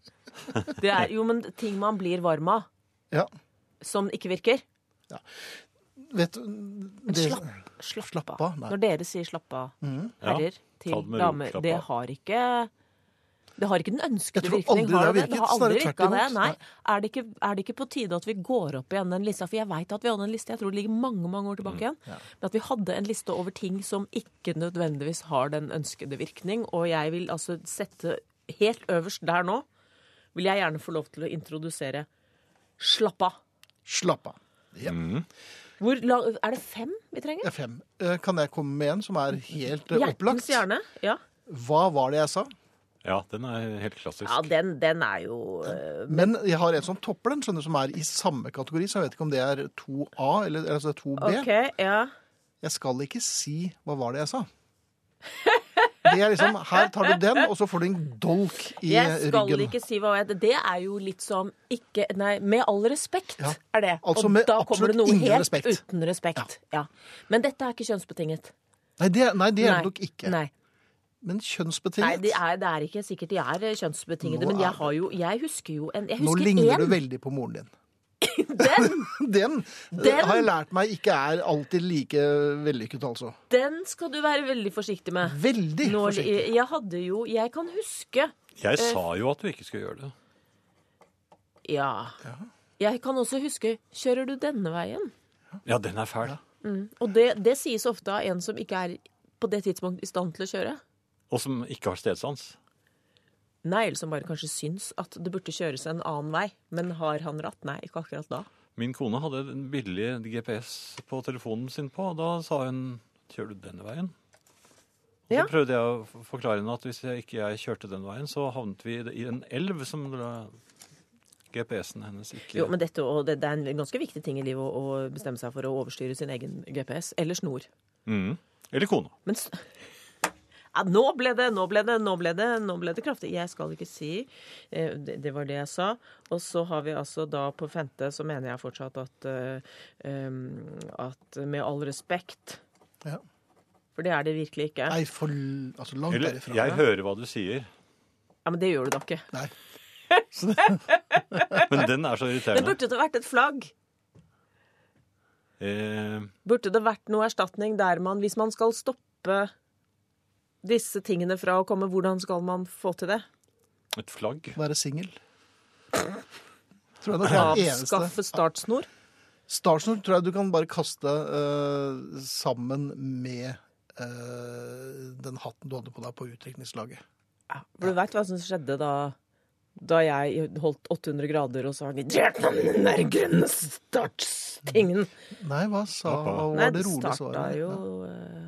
Speaker 3: Det er jo men ting man blir varm av,
Speaker 1: Ja,
Speaker 3: som ikke virker.
Speaker 1: vet du det- sånn-
Speaker 3: slapp- Slapp,
Speaker 1: Slapp
Speaker 3: av.
Speaker 1: av, nei. Mm.
Speaker 3: Når dere sier slapp av,
Speaker 2: Ja,
Speaker 3: herrer,
Speaker 2: ta
Speaker 3: til
Speaker 2: det med ro,
Speaker 3: damer,
Speaker 2: slapp
Speaker 3: det
Speaker 2: av.
Speaker 3: har ikke det har ikke den ønskede
Speaker 1: Jeg tror
Speaker 3: virkning.
Speaker 1: aldri det har
Speaker 3: det? det
Speaker 1: virket,
Speaker 3: har aldri
Speaker 1: snarere tvert
Speaker 3: virka,
Speaker 1: imot.
Speaker 3: det. Nei. Er, det ikke, er det ikke på tide at vi går opp igjen den lista? For jeg veit at vi hadde en liste, jeg tror det ligger mange mange
Speaker 1: Mm,
Speaker 3: år tilbake igjen. Men at vi hadde en liste over ting som ikke nødvendigvis har den ønskede virkning. Og jeg vil altså sette helt øverst der nå, vil jeg gjerne få lov til å introdusere slapp av.
Speaker 1: slapp av. Ja,
Speaker 3: Hvor, la, er det fem vi trenger?
Speaker 1: det er fem. Eh, Kan jeg komme med en som er helt eh,
Speaker 3: Hjertens Eh,
Speaker 1: opplagt?
Speaker 3: hjerne. Ja.
Speaker 1: Hva var det jeg sa?
Speaker 2: Ja, den er helt klassisk.
Speaker 3: Ja, den, den er jo eh,
Speaker 1: Men jeg har en som topper den, skjønner du, som er i samme kategori, så jeg vet ikke om det er 2A eller altså 2B.
Speaker 3: OK, ja.
Speaker 1: Jeg skal ikke si hva var det jeg sa. Det er liksom, Her tar du den, og så får du en dolk i eh,
Speaker 3: Jeg skal
Speaker 1: ryggen.
Speaker 3: ikke si hva jeg Det er jo litt som ikke Nei, med all respekt
Speaker 1: Ja,
Speaker 3: er det.
Speaker 1: altså
Speaker 3: Og
Speaker 1: med
Speaker 3: da kommer det
Speaker 1: absolutt
Speaker 3: noe
Speaker 1: ingen
Speaker 3: helt
Speaker 1: respekt.
Speaker 3: uten respekt. Ja. Men dette er ikke kjønnsbetinget.
Speaker 1: Nei, det, nei, det er
Speaker 3: Nei.
Speaker 1: det nok ikke.
Speaker 3: Nei,
Speaker 1: Men
Speaker 3: nei
Speaker 1: kjønnsbetinget
Speaker 3: det, er, det er ikke sikkert de er kjønnsbetingede,
Speaker 1: Nå
Speaker 3: men
Speaker 1: er
Speaker 3: jeg,
Speaker 1: det-
Speaker 3: har jo, jeg husker jo en Jeg
Speaker 1: Nå
Speaker 3: husker
Speaker 1: ligner du
Speaker 3: én.
Speaker 1: veldig på moren din.
Speaker 3: Den,
Speaker 1: Den,
Speaker 3: Den-
Speaker 1: har jeg lært meg ikke er alltid like vellykket, altså.
Speaker 3: den skal du være veldig forsiktig med.
Speaker 1: Veldig
Speaker 3: Nå,
Speaker 1: forsiktig.
Speaker 3: jeg, jeg hadde jo Jeg kan huske
Speaker 2: Jeg
Speaker 3: øh.
Speaker 2: sa jo at du ikke skulle gjøre det.
Speaker 3: Ja. Jeg kan også huske Kjører du denne veien?
Speaker 2: Ja, den er fæl.
Speaker 3: Og det, det sies ofte av en som ikke er på det tidspunktet i stand til å kjøre.
Speaker 2: Og som ikke har stedsans.
Speaker 3: Nei, eller som bare kanskje syns at det burde kjøres en annen vei. Men har han ratt? Nei, ikke akkurat da.
Speaker 2: Min kone hadde en billig GPS på telefonen sin på, og da sa hun Kjører du denne veien? Og
Speaker 3: Ja.
Speaker 2: Så prøvde jeg å f- forklare henne at hvis jeg ikke jeg kjørte den veien, så havnet vi i en elv som la- GPS-en hennes ikke
Speaker 3: Jo, men dette, og det, det er en ganske viktig ting i livet å, å bestemme seg for å overstyre sin egen GPS. Eller snor.
Speaker 2: Mhm. Eller kona.
Speaker 3: Men s- ja, nå ble det, nå ble det, nå ble det, nå ble det kraftig. Jeg skal ikke si. Eh, Det, det var det jeg sa. Og så har vi altså da på femte, så mener jeg fortsatt at, eh, em, at med all respekt
Speaker 1: Ja.
Speaker 3: For det er det virkelig ikke.
Speaker 1: Nei, for l- altså, langt
Speaker 2: Eller
Speaker 1: derifra.
Speaker 2: Jeg hører hva du sier,
Speaker 3: Ja, Men det gjør du da ikke.
Speaker 1: Nei.
Speaker 2: men den er så
Speaker 3: Det
Speaker 2: irriterende.
Speaker 3: burde det vært et flagg.
Speaker 2: Eh,
Speaker 3: Burde det vært noe erstatning der man, hvis man skal stoppe disse tingene fra å komme, hvordan skal man få til det?
Speaker 2: et flagg.
Speaker 1: Være singel. Tror jeg nok er den eneste.
Speaker 3: Avskaffe startsnor?
Speaker 1: Startsnor tror jeg du kan bare kaste eh, sammen med eh, den hatten du hadde på deg på utdrikningslaget.
Speaker 3: Ja, For du veit hva som skjedde da, da jeg holdt 800 grader og sa de drep meg med den der grønne startstingen.
Speaker 1: Nei, hva sa
Speaker 2: Slapp av.
Speaker 1: hva
Speaker 3: Nei,
Speaker 1: var det
Speaker 3: det
Speaker 1: rolige
Speaker 3: starta
Speaker 1: svaret?
Speaker 3: jo eh,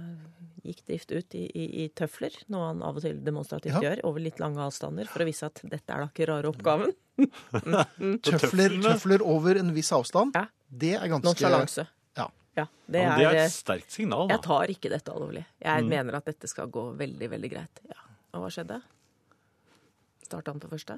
Speaker 3: gikk Drift ut i, i, i tøfler, noe han av og til demonstrativt
Speaker 1: Ja.
Speaker 3: gjør, over litt lange avstander, for å vise at dette er da ikke rare oppgaven.
Speaker 1: Tøfler,
Speaker 2: tøflene-
Speaker 1: tøfler over en viss avstand,
Speaker 3: Ja.
Speaker 1: det er ganske
Speaker 3: Nonsjalanse.
Speaker 1: Ja.
Speaker 3: Ja, det
Speaker 2: Ja, men
Speaker 3: er, eh,
Speaker 2: det er et sterkt signal,
Speaker 3: Jeg
Speaker 2: da.
Speaker 3: tar ikke dette alvorlig. Jeg mener at dette skal gå veldig, veldig greit. Ja. Og hva skjedde? Starta han på første?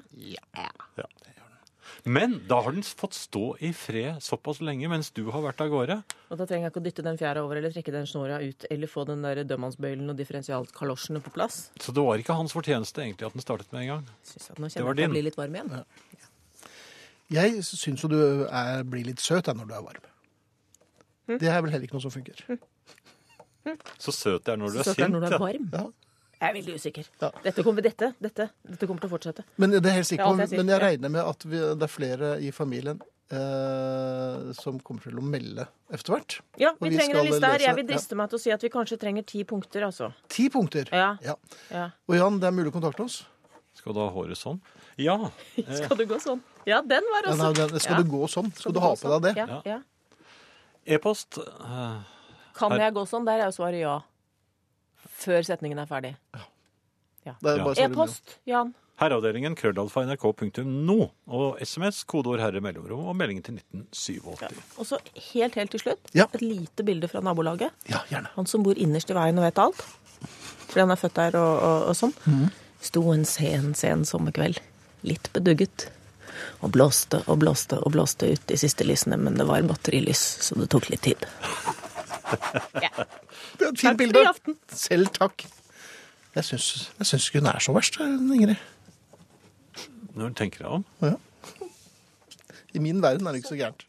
Speaker 2: Men da har den fått stå i fred såpass lenge mens du har vært av gårde.
Speaker 3: Og da trenger jeg ikke å dytte den fjæra over eller trekke den snora ut eller få den der dømmannsbøylen og differensialkalosjene på plass.
Speaker 2: Så det var ikke hans fortjeneste egentlig at den startet med en gang.
Speaker 3: Synes at nå
Speaker 2: Det var
Speaker 3: kjenner jeg at jeg
Speaker 2: din.
Speaker 3: blir litt varm igjen.
Speaker 1: Jeg syns jo du er, blir litt søt jeg, når du er varm.
Speaker 3: Hm?
Speaker 1: Det er vel heller ikke noe som funker.
Speaker 2: Så søt det er når du er
Speaker 3: Så søt er
Speaker 2: sint.
Speaker 3: når du er
Speaker 2: ja.
Speaker 3: varm.
Speaker 1: Ja.
Speaker 3: Jeg er veldig usikker.
Speaker 1: Ja.
Speaker 3: Dette kommer, dette, dette, dette kommer til å fortsette.
Speaker 1: Men det er helt
Speaker 3: Det er
Speaker 1: sikkert,
Speaker 3: alt jeg sier,
Speaker 1: men jeg
Speaker 3: ja.
Speaker 1: regner med at vi, det er flere i familien eh, som kommer til å melde etter hvert.
Speaker 3: Ja,
Speaker 1: Og
Speaker 3: vi,
Speaker 1: vi
Speaker 3: trenger
Speaker 1: skal
Speaker 3: en liste her.
Speaker 1: lese-
Speaker 3: Jeg vil driste meg til å si at vi kanskje trenger ti punkter, altså.
Speaker 1: Ti punkter.
Speaker 3: Ja.
Speaker 1: Ja.
Speaker 3: ja.
Speaker 1: Og Jan, det er mulig å kontakte oss.
Speaker 2: Skal du ha håret sånn? Ja.
Speaker 3: Skal du gå sånn? Ja, den var
Speaker 1: Ja,
Speaker 3: også
Speaker 1: nei, det- skal
Speaker 3: Ja.
Speaker 1: du gå sånn? Skal, du
Speaker 3: Skal
Speaker 1: ha
Speaker 3: gå
Speaker 1: på deg det?
Speaker 3: sånn?
Speaker 2: Ja.
Speaker 3: Ja, ja.
Speaker 2: E-post. eh,
Speaker 3: Kan
Speaker 2: Her-
Speaker 3: jeg gå sånn? Der er jo svaret ja. Før setningen er ferdig.
Speaker 1: Det er
Speaker 2: Ja.
Speaker 1: bare så
Speaker 3: E-post, Jan.
Speaker 2: Herreavdelingen krøllalfa nrk.no og SMS, kodeord herre mellomrom og meldingen til 1987.
Speaker 3: Og så helt, helt til slutt,
Speaker 1: Ja.
Speaker 3: et lite bilde fra nabolaget.
Speaker 1: det blir. Ja, gjerne.
Speaker 3: Han som bor innerst i veien og vet alt. Fordi han er født der og, og, og sånn. Sto en sen, sen sommerkveld, litt bedugget. Og blåste og blåste og blåste ut de siste lysene, men det var batterilys, så det tok litt tid.
Speaker 1: Det er et
Speaker 3: Takk
Speaker 1: fint
Speaker 3: for
Speaker 1: bilde.
Speaker 3: i aften.
Speaker 1: Selv takk. Jeg syns, jeg syns ikke hun er så verst, Ingrid.
Speaker 2: Når du tenker deg om.
Speaker 1: I min verden er det ikke så gærent.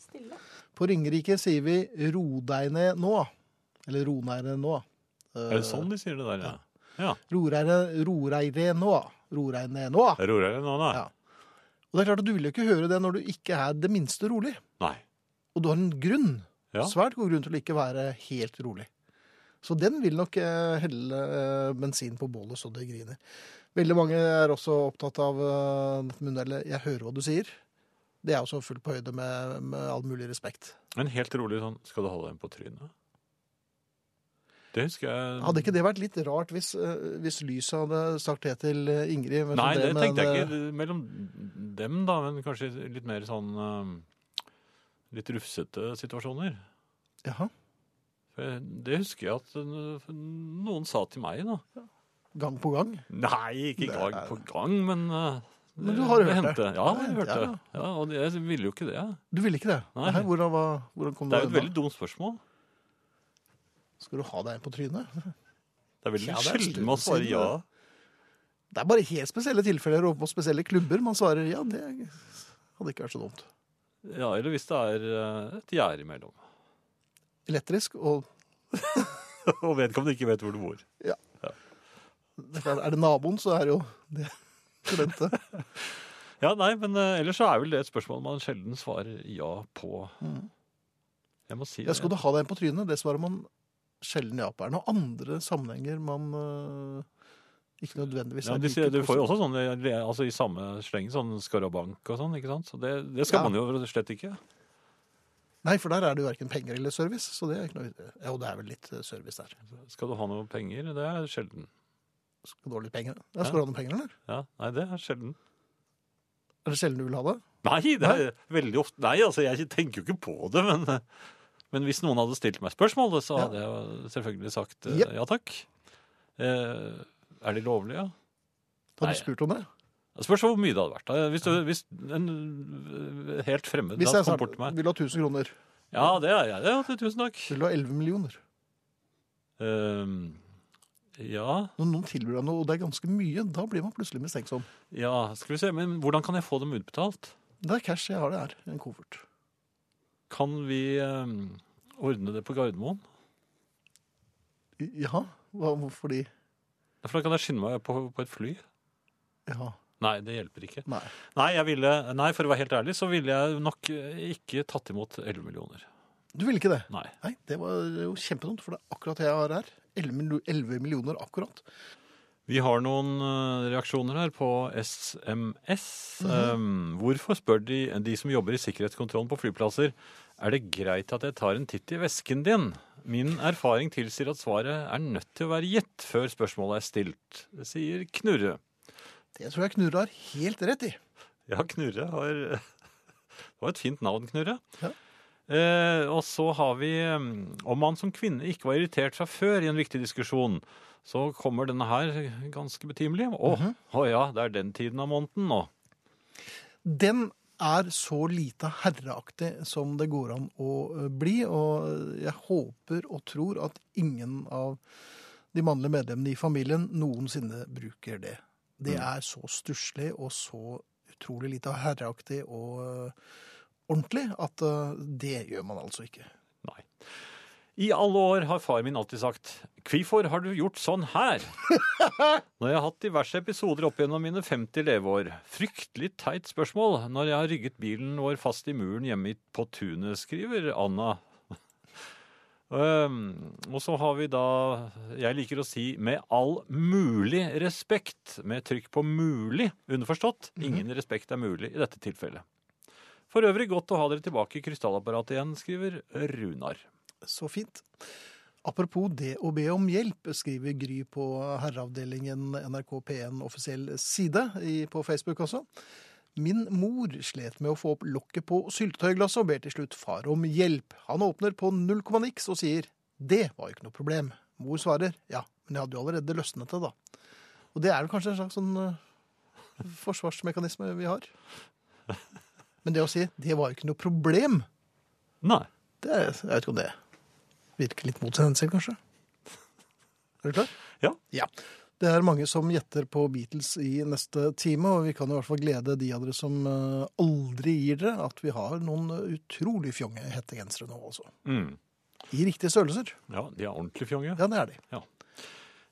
Speaker 1: På Ringerike sier vi 'ro deg ned nå'. Eller 'ro deg ned nå'. Eh,
Speaker 2: Er det sånn de sier det der, ja?
Speaker 1: Ro deg ro deg ned nå. Ro deg ned nå.
Speaker 2: Ja. Roer deg nå, da?
Speaker 1: Ja. Og det er klart at Du vil jo ikke høre det når du ikke er det minste rolig.
Speaker 2: Nei.
Speaker 1: Og du har en grunn,
Speaker 2: Ja.
Speaker 1: svært god grunn til å ikke være helt rolig. Så den vil nok eh, helle eh, bensin på bålet så det griner. Veldig mange er også opptatt av eh, dette munnhellet 'jeg hører hva du sier'. Det er også fullt på høyde med, med all mulig respekt.
Speaker 2: Men helt rolig sånn Skal du holde den på trynet? Det husker jeg
Speaker 1: Hadde ikke det vært litt rart hvis, eh, hvis lyset hadde sagt det til eh, Ingrid? men så
Speaker 2: Nei, sånn det
Speaker 1: med
Speaker 2: tenkte jeg
Speaker 1: en, eh,
Speaker 2: ikke mellom dem, da, men kanskje litt mer sånn eh, Litt rufsete situasjoner.
Speaker 1: eh, Jaha.
Speaker 2: For jeg- Det husker jeg at eh, noen sa til meg, da.
Speaker 1: Gang på gang.
Speaker 2: Nei, ikke
Speaker 1: Nei.
Speaker 2: gang på gang, men eh,
Speaker 1: Men du har
Speaker 2: det
Speaker 1: hørt det.
Speaker 2: hendte. Ja, jeg
Speaker 1: Ja,
Speaker 2: hørte det. Ja, og jeg ville jo ikke det.
Speaker 1: Du ville ikke det?
Speaker 2: Nei.
Speaker 1: Nei, hvordan, var- hvordan kom
Speaker 2: Det er jo
Speaker 1: det
Speaker 2: et veldig dumt spørsmål.
Speaker 1: Skal du ha deg en på trynet?
Speaker 2: Det er veldig
Speaker 1: Ja, det er et
Speaker 2: sjelden man
Speaker 1: stund
Speaker 2: svarer
Speaker 1: siden,
Speaker 2: ja.
Speaker 1: Det er bare helt spesielle tilfeller og på spesielle klubber man svarer ja, det hadde ikke vært så dumt.
Speaker 2: ja. Eller hvis det er eh, et gjerde imellom.
Speaker 1: Elektrisk, og
Speaker 2: og vedkommende ikke vet hvor du bor.
Speaker 1: det er klart, er det naboen, så er det jo det studente.
Speaker 2: Ja, nei, men eh, ellers så er vel det et spørsmål man sjelden svarer ja på. Jeg må si
Speaker 1: Mm. Ja,
Speaker 2: det.
Speaker 1: skal du ha deg en på trynet? Det svarer man sjelden ja på. Er det noen andre sammenhenger man øh, ikke nødvendigvis
Speaker 2: Ja,
Speaker 1: er
Speaker 2: de
Speaker 1: like
Speaker 2: sier, du får
Speaker 1: positiv-
Speaker 2: jo også sånn, eh, altså i samme sleng, sånn skarabank og sånn, ikke sant? Så det, det skal
Speaker 1: Ja.
Speaker 2: man jo slett ikke.
Speaker 1: Nei, for der er det jo verken penger eller service. Så det er ikke noe Jo, det er vel litt øh, service der.
Speaker 2: Skal du ha noe penger? Det er sjelden.
Speaker 1: Skal du ha litt penger? Ja, skal du ha noen penger, eller?
Speaker 2: Ja, nei, det er sjelden.
Speaker 1: Er det sjelden du vil ha det?
Speaker 2: Nei, det er veldig ofte Nei, altså, jeg tenker jo ikke på det, men, men hvis noen hadde stilt meg spørsmålet, så
Speaker 1: Ja.
Speaker 2: hadde jeg jo selvfølgelig sagt eh,
Speaker 1: Jep.
Speaker 2: ja takk. Eh, er de lovlige? Ja?
Speaker 1: Har
Speaker 2: Nei.
Speaker 1: du spurt om det?
Speaker 2: Det spørs hvor mye det hadde vært. da. Hvis, du, hvis en eh, helt fremmed
Speaker 1: Hvis
Speaker 2: da
Speaker 1: jeg
Speaker 2: kom
Speaker 1: sa
Speaker 2: bort til meg
Speaker 1: vil du ha 1000 kroner,
Speaker 2: Ja, det er jeg. Ja, tusen takk.
Speaker 1: vil du ha 11 millioner?
Speaker 2: Eh, ja,
Speaker 1: Når noen tilbyr deg noe, og det er ganske mye, da blir man plutselig mistenksom.
Speaker 2: ja, skal vi se. Men hvordan kan jeg få dem utbetalt?
Speaker 1: Det er cash jeg har det her, en koffert.
Speaker 2: Kan vi eh, ordne det på Gardermoen?
Speaker 1: I- Jaha, hva, hvorfor de?
Speaker 2: For da kan jeg skynde meg på, på et fly.
Speaker 1: Jaha,
Speaker 2: Nei, det hjelper ikke.
Speaker 1: nei.
Speaker 2: Nei, jeg ville, nei, for å være helt ærlig, så ville jeg nok eh, ikke tatt imot 11 millioner.
Speaker 1: Du ville ikke det?
Speaker 2: Nei.
Speaker 1: Nei, det var jo kjempedumt, for det er akkurat det jeg har her. 11 mil- 11 millioner akkurat.
Speaker 2: Vi har noen eh, reaksjoner her på SMS. Eh, hvorfor spør de, de som jobber i sikkerhetskontrollen på flyplasser, er det greit at jeg tar en titt i vesken din? Min erfaring tilsier at svaret er nødt til å være gitt før spørsmålet er stilt, sier Knurre.
Speaker 1: Det tror jeg Knurre har helt rett i.
Speaker 2: Ja, Knurre har Det var et fint navn, Knurre.
Speaker 1: Ja.
Speaker 2: Eh, og så har vi eh, Om man som kvinne ikke var irritert fra før i en viktig diskusjon, så kommer denne her ganske betimelig. Å å ja, det er den tiden av måneden nå.
Speaker 1: Den er så lite herreaktig som det går an å eh, bli, og jeg håper og tror at ingen av de mannlige medlemmene i familien noensinne bruker det. Det er så stusslig og så utrolig lite herreaktig og eh, ordentlig at eh, det gjør man altså ikke.
Speaker 2: Nei. I alle år har far min alltid sagt 'Hvorfor har du gjort sånn her?' Når jeg har hatt diverse episoder opp gjennom mine 50 leveår. Fryktelig teit spørsmål når jeg har rygget bilen vår fast i muren hjemme i- på tunet, skriver Anna. Ehm, og så har vi da Jeg liker å si 'med all mulig respekt', med trykk på 'mulig', underforstått. Ingen respekt er mulig i dette tilfellet. For øvrig godt å ha dere tilbake i krystallapparatet igjen, skriver Runar.
Speaker 1: Så fint. Apropos det å be om hjelp, skriver Gry på herreavdelingen NRK P1 offisiell side i- på Facebook også. Min mor slet med å få opp lokket på syltetøyglasset og ber til slutt far om hjelp. Han åpner på null komma niks og sier 'det var jo ikke noe problem'. Mor svarer 'ja, men jeg hadde jo allerede løsnet det', da. Og det er vel kanskje en slags sånn eh, forsvarsmekanisme vi har. Men det å si 'det var jo ikke noe problem',
Speaker 2: Nei.
Speaker 1: det er, jeg vet ikke om det virker litt mot sin hensikt, kanskje. Er du klar?
Speaker 2: Ja.
Speaker 1: Det er mange som gjetter på Beatles i neste time, og vi kan i hvert fall glede de av dere som eh, aldri gir dere, at vi har noen utrolig fjonge hettegensere nå, altså.
Speaker 2: Mm.
Speaker 1: I riktige størrelser.
Speaker 2: Ja, de er ordentlig fjonge.
Speaker 1: Ja, det er de.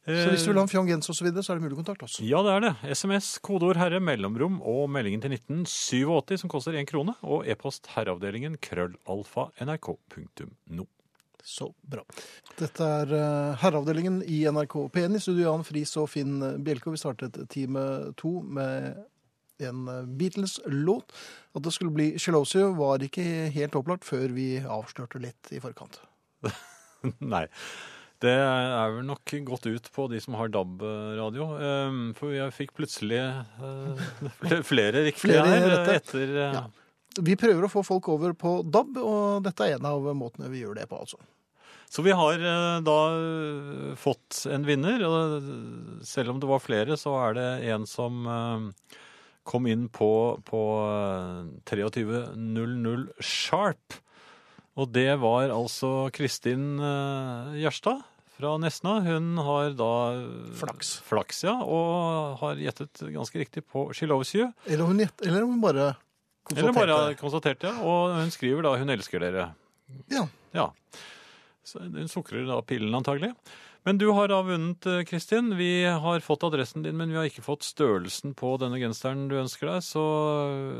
Speaker 1: Så hvis du vil ha en fjong genser og så videre, så er det mulig å kontakte oss.
Speaker 2: Eh, Ja, det er det. SMS, kodeord herre, mellomrom og meldingen til 1987 som koster én krone, og e-post herreavdelingen krøllalfa nrk.no.
Speaker 1: Så bra. Dette er eh, herreavdelingen i NRK P1 i studio Jan Friis og Finn Bjelke. og Vi startet time to med en eh, Beatles-låt. At det skulle bli 'Chelosio' var ikke helt opplagt før vi avslørte litt i forkant.
Speaker 2: Nei. Det er vel nok gått ut på de som har DAB-radio. eh, For jeg fikk plutselig eh, flere riktige
Speaker 1: Flere
Speaker 2: her eh,
Speaker 1: rette.
Speaker 2: etter eh,
Speaker 1: Ja. Vi prøver å få folk over på DAB, og dette er en av måtene vi gjør det på, altså.
Speaker 2: Så vi har eh, da eh, fått en vinner. og Selv om det var flere, så er det en som eh, kom inn på, på eh, 23.00 sharp. Og det var altså Kristin eh, Gjerstad fra Nesna. Hun har da eh,
Speaker 1: Flaks.
Speaker 2: flaks ja, og har gjettet ganske riktig på She Loves You.
Speaker 1: Eller hun, gjett- eller hun bare
Speaker 2: Eller
Speaker 1: konstaterte
Speaker 2: bare konstatert det. Og hun skriver da 'Hun elsker dere'.
Speaker 1: Ja.
Speaker 2: Ja. Så hun sukrer da pillen antagelig. Men du har da vunnet, eh, Kristin. Vi har fått adressen din, men vi har ikke fått størrelsen på denne genseren du ønsker deg, så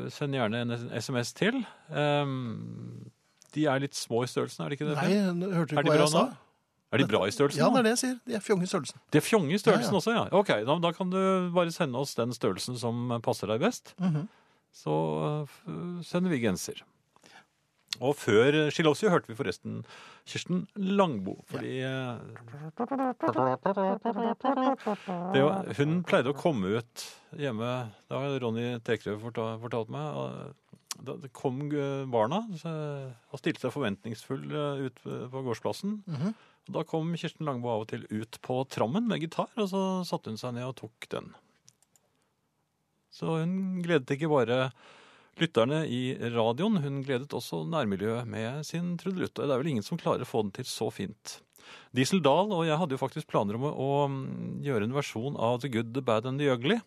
Speaker 2: eh, send gjerne en SMS til. Ehm, de er litt små i størrelsen, er de ikke det?
Speaker 1: Nei,
Speaker 2: Finn?
Speaker 1: hørte du
Speaker 2: er
Speaker 1: ikke hva
Speaker 2: de bra
Speaker 1: jeg sa?
Speaker 2: nå? Er de bra i størrelsen?
Speaker 1: Ja,
Speaker 2: nå?
Speaker 1: det er det jeg sier. De er fjonge i størrelsen.
Speaker 2: De er fjonge i størrelsen
Speaker 1: Ja, ja.
Speaker 2: også, ja. Ok, da, da kan du bare sende oss den størrelsen som passer deg best.
Speaker 1: Mhm.
Speaker 2: Så eh, f- sender vi genser. Og før Skilosio hørte vi forresten Kirsten Langbo, fordi eh, det, var- Hun pleide å komme ut hjemme Det har Ronny Tekrø forta- fortalt meg. og Da det kom eh, barna så- og stilte seg forventningsfull eh, ut på gårdsplassen. Og Da kom Kirsten Langbo av og til ut på trammen med gitar, og så satte hun seg ned og tok den. Så hun gledet ikke bare lytterne i radioen, hun gledet også nærmiljøet med sin trudelutt. Og det er vel ingen som klarer å få den til så fint. Diesel Dahl og jeg hadde jo faktisk planer om å, å mm, gjøre en versjon av The Good, The Bad and The Ugly.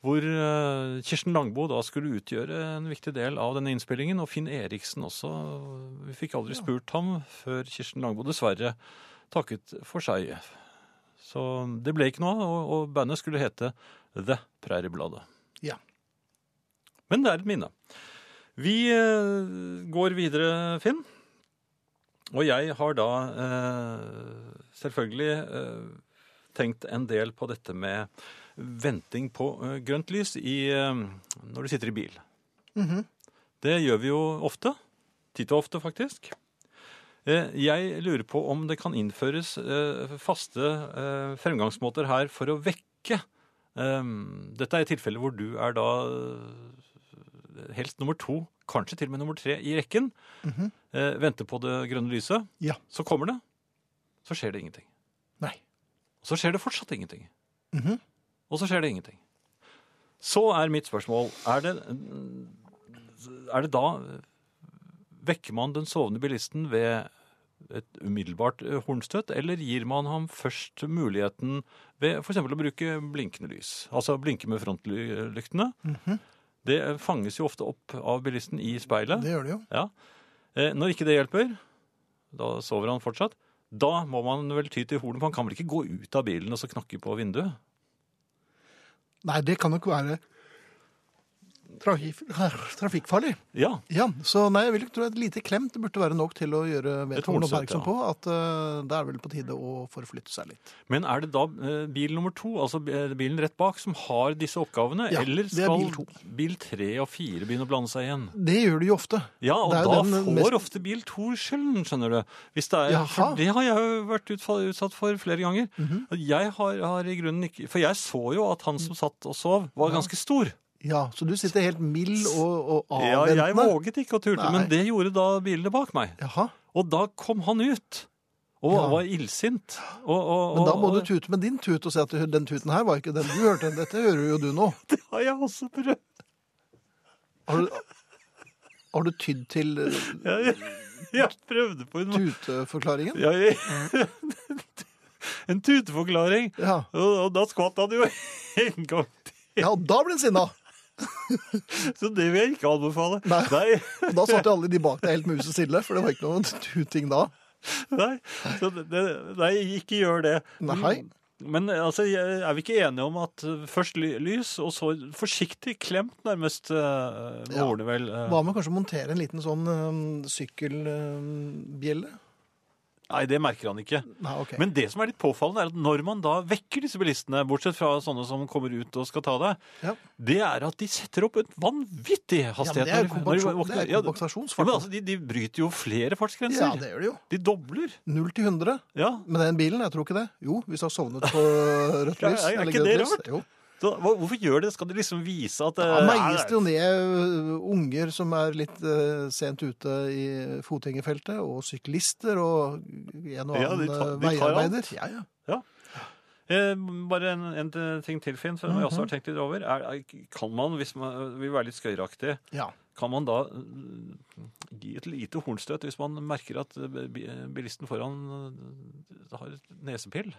Speaker 2: Hvor eh, Kirsten Langbo da skulle utgjøre en viktig del av denne innspillingen, og Finn Eriksen også. Vi fikk aldri spurt ham før Kirsten Langbo dessverre takket for seg. Så det ble ikke noe av, og, og bandet skulle hete The Præriebladet.
Speaker 1: Ja.
Speaker 2: Men det er et minne. Vi eh, går videre, Finn. Og jeg har da eh, selvfølgelig eh, tenkt en del på dette med venting på eh, grønt lys i, eh, når du sitter i bil.
Speaker 1: Mhm.
Speaker 2: Det gjør vi jo ofte. Titt og ofte, faktisk. Eh, Jeg lurer på om det kan innføres eh, faste eh, fremgangsmåter her for å vekke. Eh, Dette er et tilfelle hvor du er da eh, helst nummer to, kanskje til og med nummer tre i rekken.
Speaker 1: Mhm.
Speaker 2: Eh, Venter på det grønne lyset.
Speaker 1: Ja.
Speaker 2: Så kommer det. Så skjer det ingenting.
Speaker 1: Nei.
Speaker 2: Så skjer det fortsatt ingenting.
Speaker 1: Mhm.
Speaker 2: Og så skjer det ingenting. Så er mitt spørsmål Er det, er det da Vekker man den sovende bilisten ved et umiddelbart eh, hornstøt, eller gir man ham først muligheten ved f.eks. å bruke blinkende lys? Altså blinke med frontlyktene. Det fanges jo ofte opp av bilisten i speilet.
Speaker 1: Det gjør det jo.
Speaker 2: Eh, Når ikke det hjelper, da sover han fortsatt, da må man vel ty til hornet, for han kan vel ikke gå ut av bilen og så knakke på vinduet?
Speaker 1: Nei, det kan nok være trafik trafikkfarlig.
Speaker 2: Ja,
Speaker 1: Ja, så nei, jeg vil ikke tro at et lite klemt burde være nok til å gjøre vedkommende
Speaker 2: hornsett,
Speaker 1: oppmerksom
Speaker 2: ja.
Speaker 1: på at eh, det er vel på tide å forflytte seg litt.
Speaker 2: Men er det da eh, bil nummer to, altså eh, bilen rett bak, som har disse oppgavene?
Speaker 1: Ja,
Speaker 2: eller
Speaker 1: det er
Speaker 2: skal
Speaker 1: bil to.
Speaker 2: bil tre og fire begynne å blande seg igjen?
Speaker 1: Det gjør de jo ofte.
Speaker 2: Ja, og
Speaker 1: Det er jo
Speaker 2: da
Speaker 1: den
Speaker 2: får
Speaker 1: mest-
Speaker 2: ofte bil to skylden, skjønner du. Hvis det er,
Speaker 1: Jaha.
Speaker 2: for det har jeg jo vært utfa- utsatt for flere ganger.
Speaker 1: Mhm.
Speaker 2: At Jeg har, har i grunnen ikke For jeg så jo at han som satt og sov, var ganske stor.
Speaker 1: Ja, Så du sitter helt mild og, og
Speaker 2: Ja,
Speaker 1: avventende?
Speaker 2: jeg våget ikke å turte,
Speaker 1: Nei.
Speaker 2: men det gjorde da bilene bak meg.
Speaker 1: Jaha,
Speaker 2: Og da kom han ut. Og
Speaker 1: Ja.
Speaker 2: var illsint. Og, og,
Speaker 1: Men da må
Speaker 2: og-
Speaker 1: du tute med din tut og si at den tuten her var ikke den du hørte. Dette hører jo du nå.
Speaker 2: Det har jeg også prøvd.
Speaker 1: Har du, har du tydd til eh,
Speaker 2: Jeg, jeg, jeg prøvde på en
Speaker 1: tuteforklaringen?
Speaker 2: Ja, jeg, en tuteforklaring.
Speaker 1: Ja.
Speaker 2: Og, og da skvatt han jo en gang.
Speaker 1: ja, og da ble han sinna!
Speaker 2: Så det vil jeg ikke anbefale.
Speaker 1: Nei.
Speaker 2: Nei.
Speaker 1: Og da satt jo alle de bak deg helt muset stille, for det var ikke noe tuting da.
Speaker 2: nei. Så det, det- nei ikke gjør det.
Speaker 1: Nei.
Speaker 2: Men altså, jeg- er vi ikke enige om at eh, først ly- lys, og så forsiktig klemt nærmest uh, med
Speaker 1: Ja.
Speaker 2: ordene, vel? eh.
Speaker 1: Hva med kanskje å montere en liten sånn sykkelbjelle?
Speaker 2: Nei, det merker han ikke.
Speaker 1: Nei, ok.
Speaker 2: Men det som er litt påfallende, er at når man da vekker disse bilistene, bortsett fra sånne som kommer ut og skal ta deg,
Speaker 1: Ja.
Speaker 2: det er at de setter opp en vanvittig
Speaker 1: ja, men
Speaker 2: hastighet.
Speaker 1: det er
Speaker 2: når de- når de
Speaker 1: kompensasjon-
Speaker 2: våkner.
Speaker 1: det er
Speaker 2: Ja, ja,
Speaker 1: kompensasjonsfart.
Speaker 2: men altså, de, de bryter jo flere fartsgrenser.
Speaker 1: Ja, det gjør det jo.
Speaker 2: De dobler.
Speaker 1: Null til 100
Speaker 2: Ja.
Speaker 1: med den bilen, jeg tror ikke det. Jo, hvis du har sovnet på rødt
Speaker 2: Ja,
Speaker 1: lys.
Speaker 2: er
Speaker 1: eller
Speaker 2: ikke
Speaker 1: grønt
Speaker 2: det
Speaker 1: lys.
Speaker 2: rart?
Speaker 1: Jo.
Speaker 2: Så, hva, hvorfor gjør de det? Skal de liksom vise at
Speaker 1: Ja,
Speaker 2: eh,
Speaker 1: man gis det jo
Speaker 2: nei,
Speaker 1: ned ø, unger som er litt ø, sent ute i fotgjengerfeltet, og syklister og en og
Speaker 2: Ja, de
Speaker 1: annen
Speaker 2: tar-
Speaker 1: ø,
Speaker 2: de tar alt.
Speaker 1: veiarbeider. Ja, ja.
Speaker 2: Eh, bare en, en ting til, Finn, som jeg
Speaker 1: Mhm.
Speaker 2: også har tenkt litt over. Er, er, kan man, hvis man vil være litt skøyeraktig,
Speaker 1: ja.
Speaker 2: kan man da eh, gi et lite hornstøt hvis man merker at eh, bi- bilisten foran eh, har et nesepill?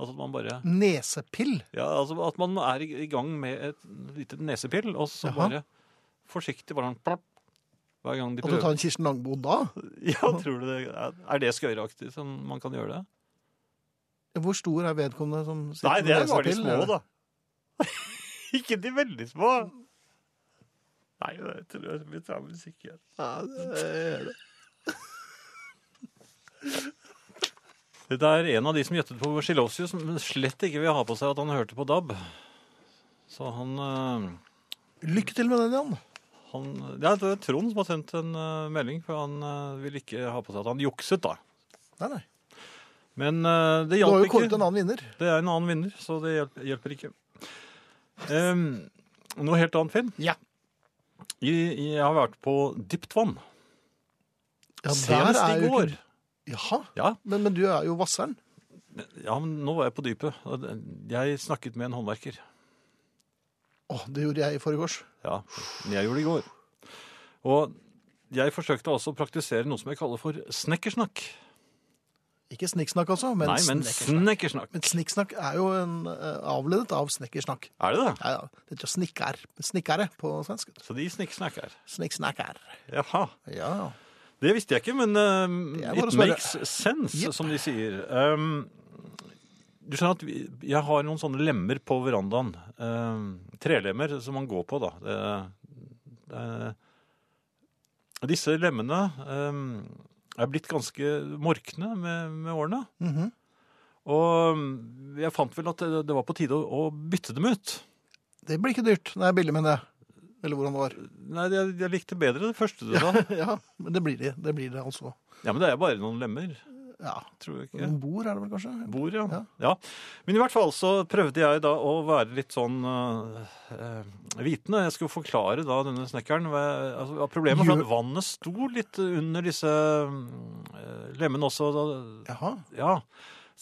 Speaker 2: Altså at man bare
Speaker 1: Nesepill.
Speaker 2: Ja, altså at man er i i gang med et lite nesepill, og
Speaker 1: Jaha.
Speaker 2: så bare forsiktig bare sånn plopp, hver gang de
Speaker 1: At du
Speaker 2: prøver.
Speaker 1: tar en Kirsten Langbo da?
Speaker 2: Ja, tror du det er, er det skøyeraktig som man kan gjøre det?
Speaker 1: Hvor stor er vedkommende som sitter
Speaker 2: Nei,
Speaker 1: med
Speaker 2: det er bare de
Speaker 1: nesepill?
Speaker 2: små, da. Ikke de veldig små. Nei, jeg tror jeg vi tar musikk igjen.
Speaker 1: Ja, det er det.
Speaker 2: Dette er en av de som gjettet på Schilosius, som slett ikke vil ha på seg at han hørte på DAB. Så han, eh,
Speaker 1: Lykke til med den, Jan.
Speaker 2: han Ja, det er Trond som har sendt en eh, melding, for han eh, vil ikke ha på seg at han jukset, da.
Speaker 1: Nei, nei.
Speaker 2: Men eh,
Speaker 1: Du
Speaker 2: det
Speaker 1: har
Speaker 2: hjalp
Speaker 1: jo kåret
Speaker 2: ikke.
Speaker 1: en annen vinner.
Speaker 2: Det er en annen vinner, så det hjelper, hjelper ikke. Em, noe helt annet, Finn.
Speaker 1: Ja.
Speaker 2: Jeg, jeg har vært på dypt vann.
Speaker 1: Ja, der
Speaker 2: Senest
Speaker 1: er
Speaker 2: i
Speaker 1: jo
Speaker 2: går.
Speaker 1: ikke- Jaha,
Speaker 2: Ja,
Speaker 1: men, men du er jo vasseren.
Speaker 2: ja, men nå var jeg på dypet. og det- Jeg snakket med en håndverker.
Speaker 1: Å, det gjorde jeg i forgårs.
Speaker 2: Ja, men jeg gjorde det i går. Og jeg forsøkte også å praktisere noe som jeg kaller for snekkersnakk.
Speaker 1: Ikke snikksnakk, altså, men,
Speaker 2: Nei, men
Speaker 1: snekker-
Speaker 2: snekkersnakk.
Speaker 1: men snikksnakk er jo en, ø, avledet av snekkersnakk.
Speaker 2: Er det det?
Speaker 1: Ja, ja. Det heter snikker, snikkere på svensk.
Speaker 2: Så de snikksnakker.
Speaker 1: Snikksnakker.
Speaker 2: Jaha.
Speaker 1: Ja.
Speaker 2: Det visste jeg ikke, men um,
Speaker 1: Det er bare
Speaker 2: it
Speaker 1: å spørre.
Speaker 2: makes sense,
Speaker 1: Jepp.
Speaker 2: som de sier. Um, du skjønner at vi, jeg har noen sånne lemmer på verandaen. Um, trelemmer som man går på, da. Det, det, disse lemmene um, er blitt ganske morkne med, med årene.
Speaker 1: Mhm.
Speaker 2: Og um, jeg fant vel at det, det var på tide å, å bytte dem ut.
Speaker 1: Det blir ikke dyrt. Det er billig, mener jeg. Eller hvor han var.
Speaker 2: Nei, jeg, jeg likte bedre det første du sa.
Speaker 1: Ja, men det blir det. Det blir det altså.
Speaker 2: Ja, men det er bare noen lemmer,
Speaker 1: Ja.
Speaker 2: tror jeg ikke.
Speaker 1: En bord er det vel kanskje?
Speaker 2: Bord, ja.
Speaker 1: Ja.
Speaker 2: ja. Men i hvert fall så prøvde jeg da å være litt sånn øh, øh, vitende. Jeg skulle forklare da denne snekkeren hva- altså, hva Problemet var
Speaker 1: Gjør-
Speaker 2: at vannet sto litt under disse øh, lemmene også. Da,
Speaker 1: Jaha.
Speaker 2: ja.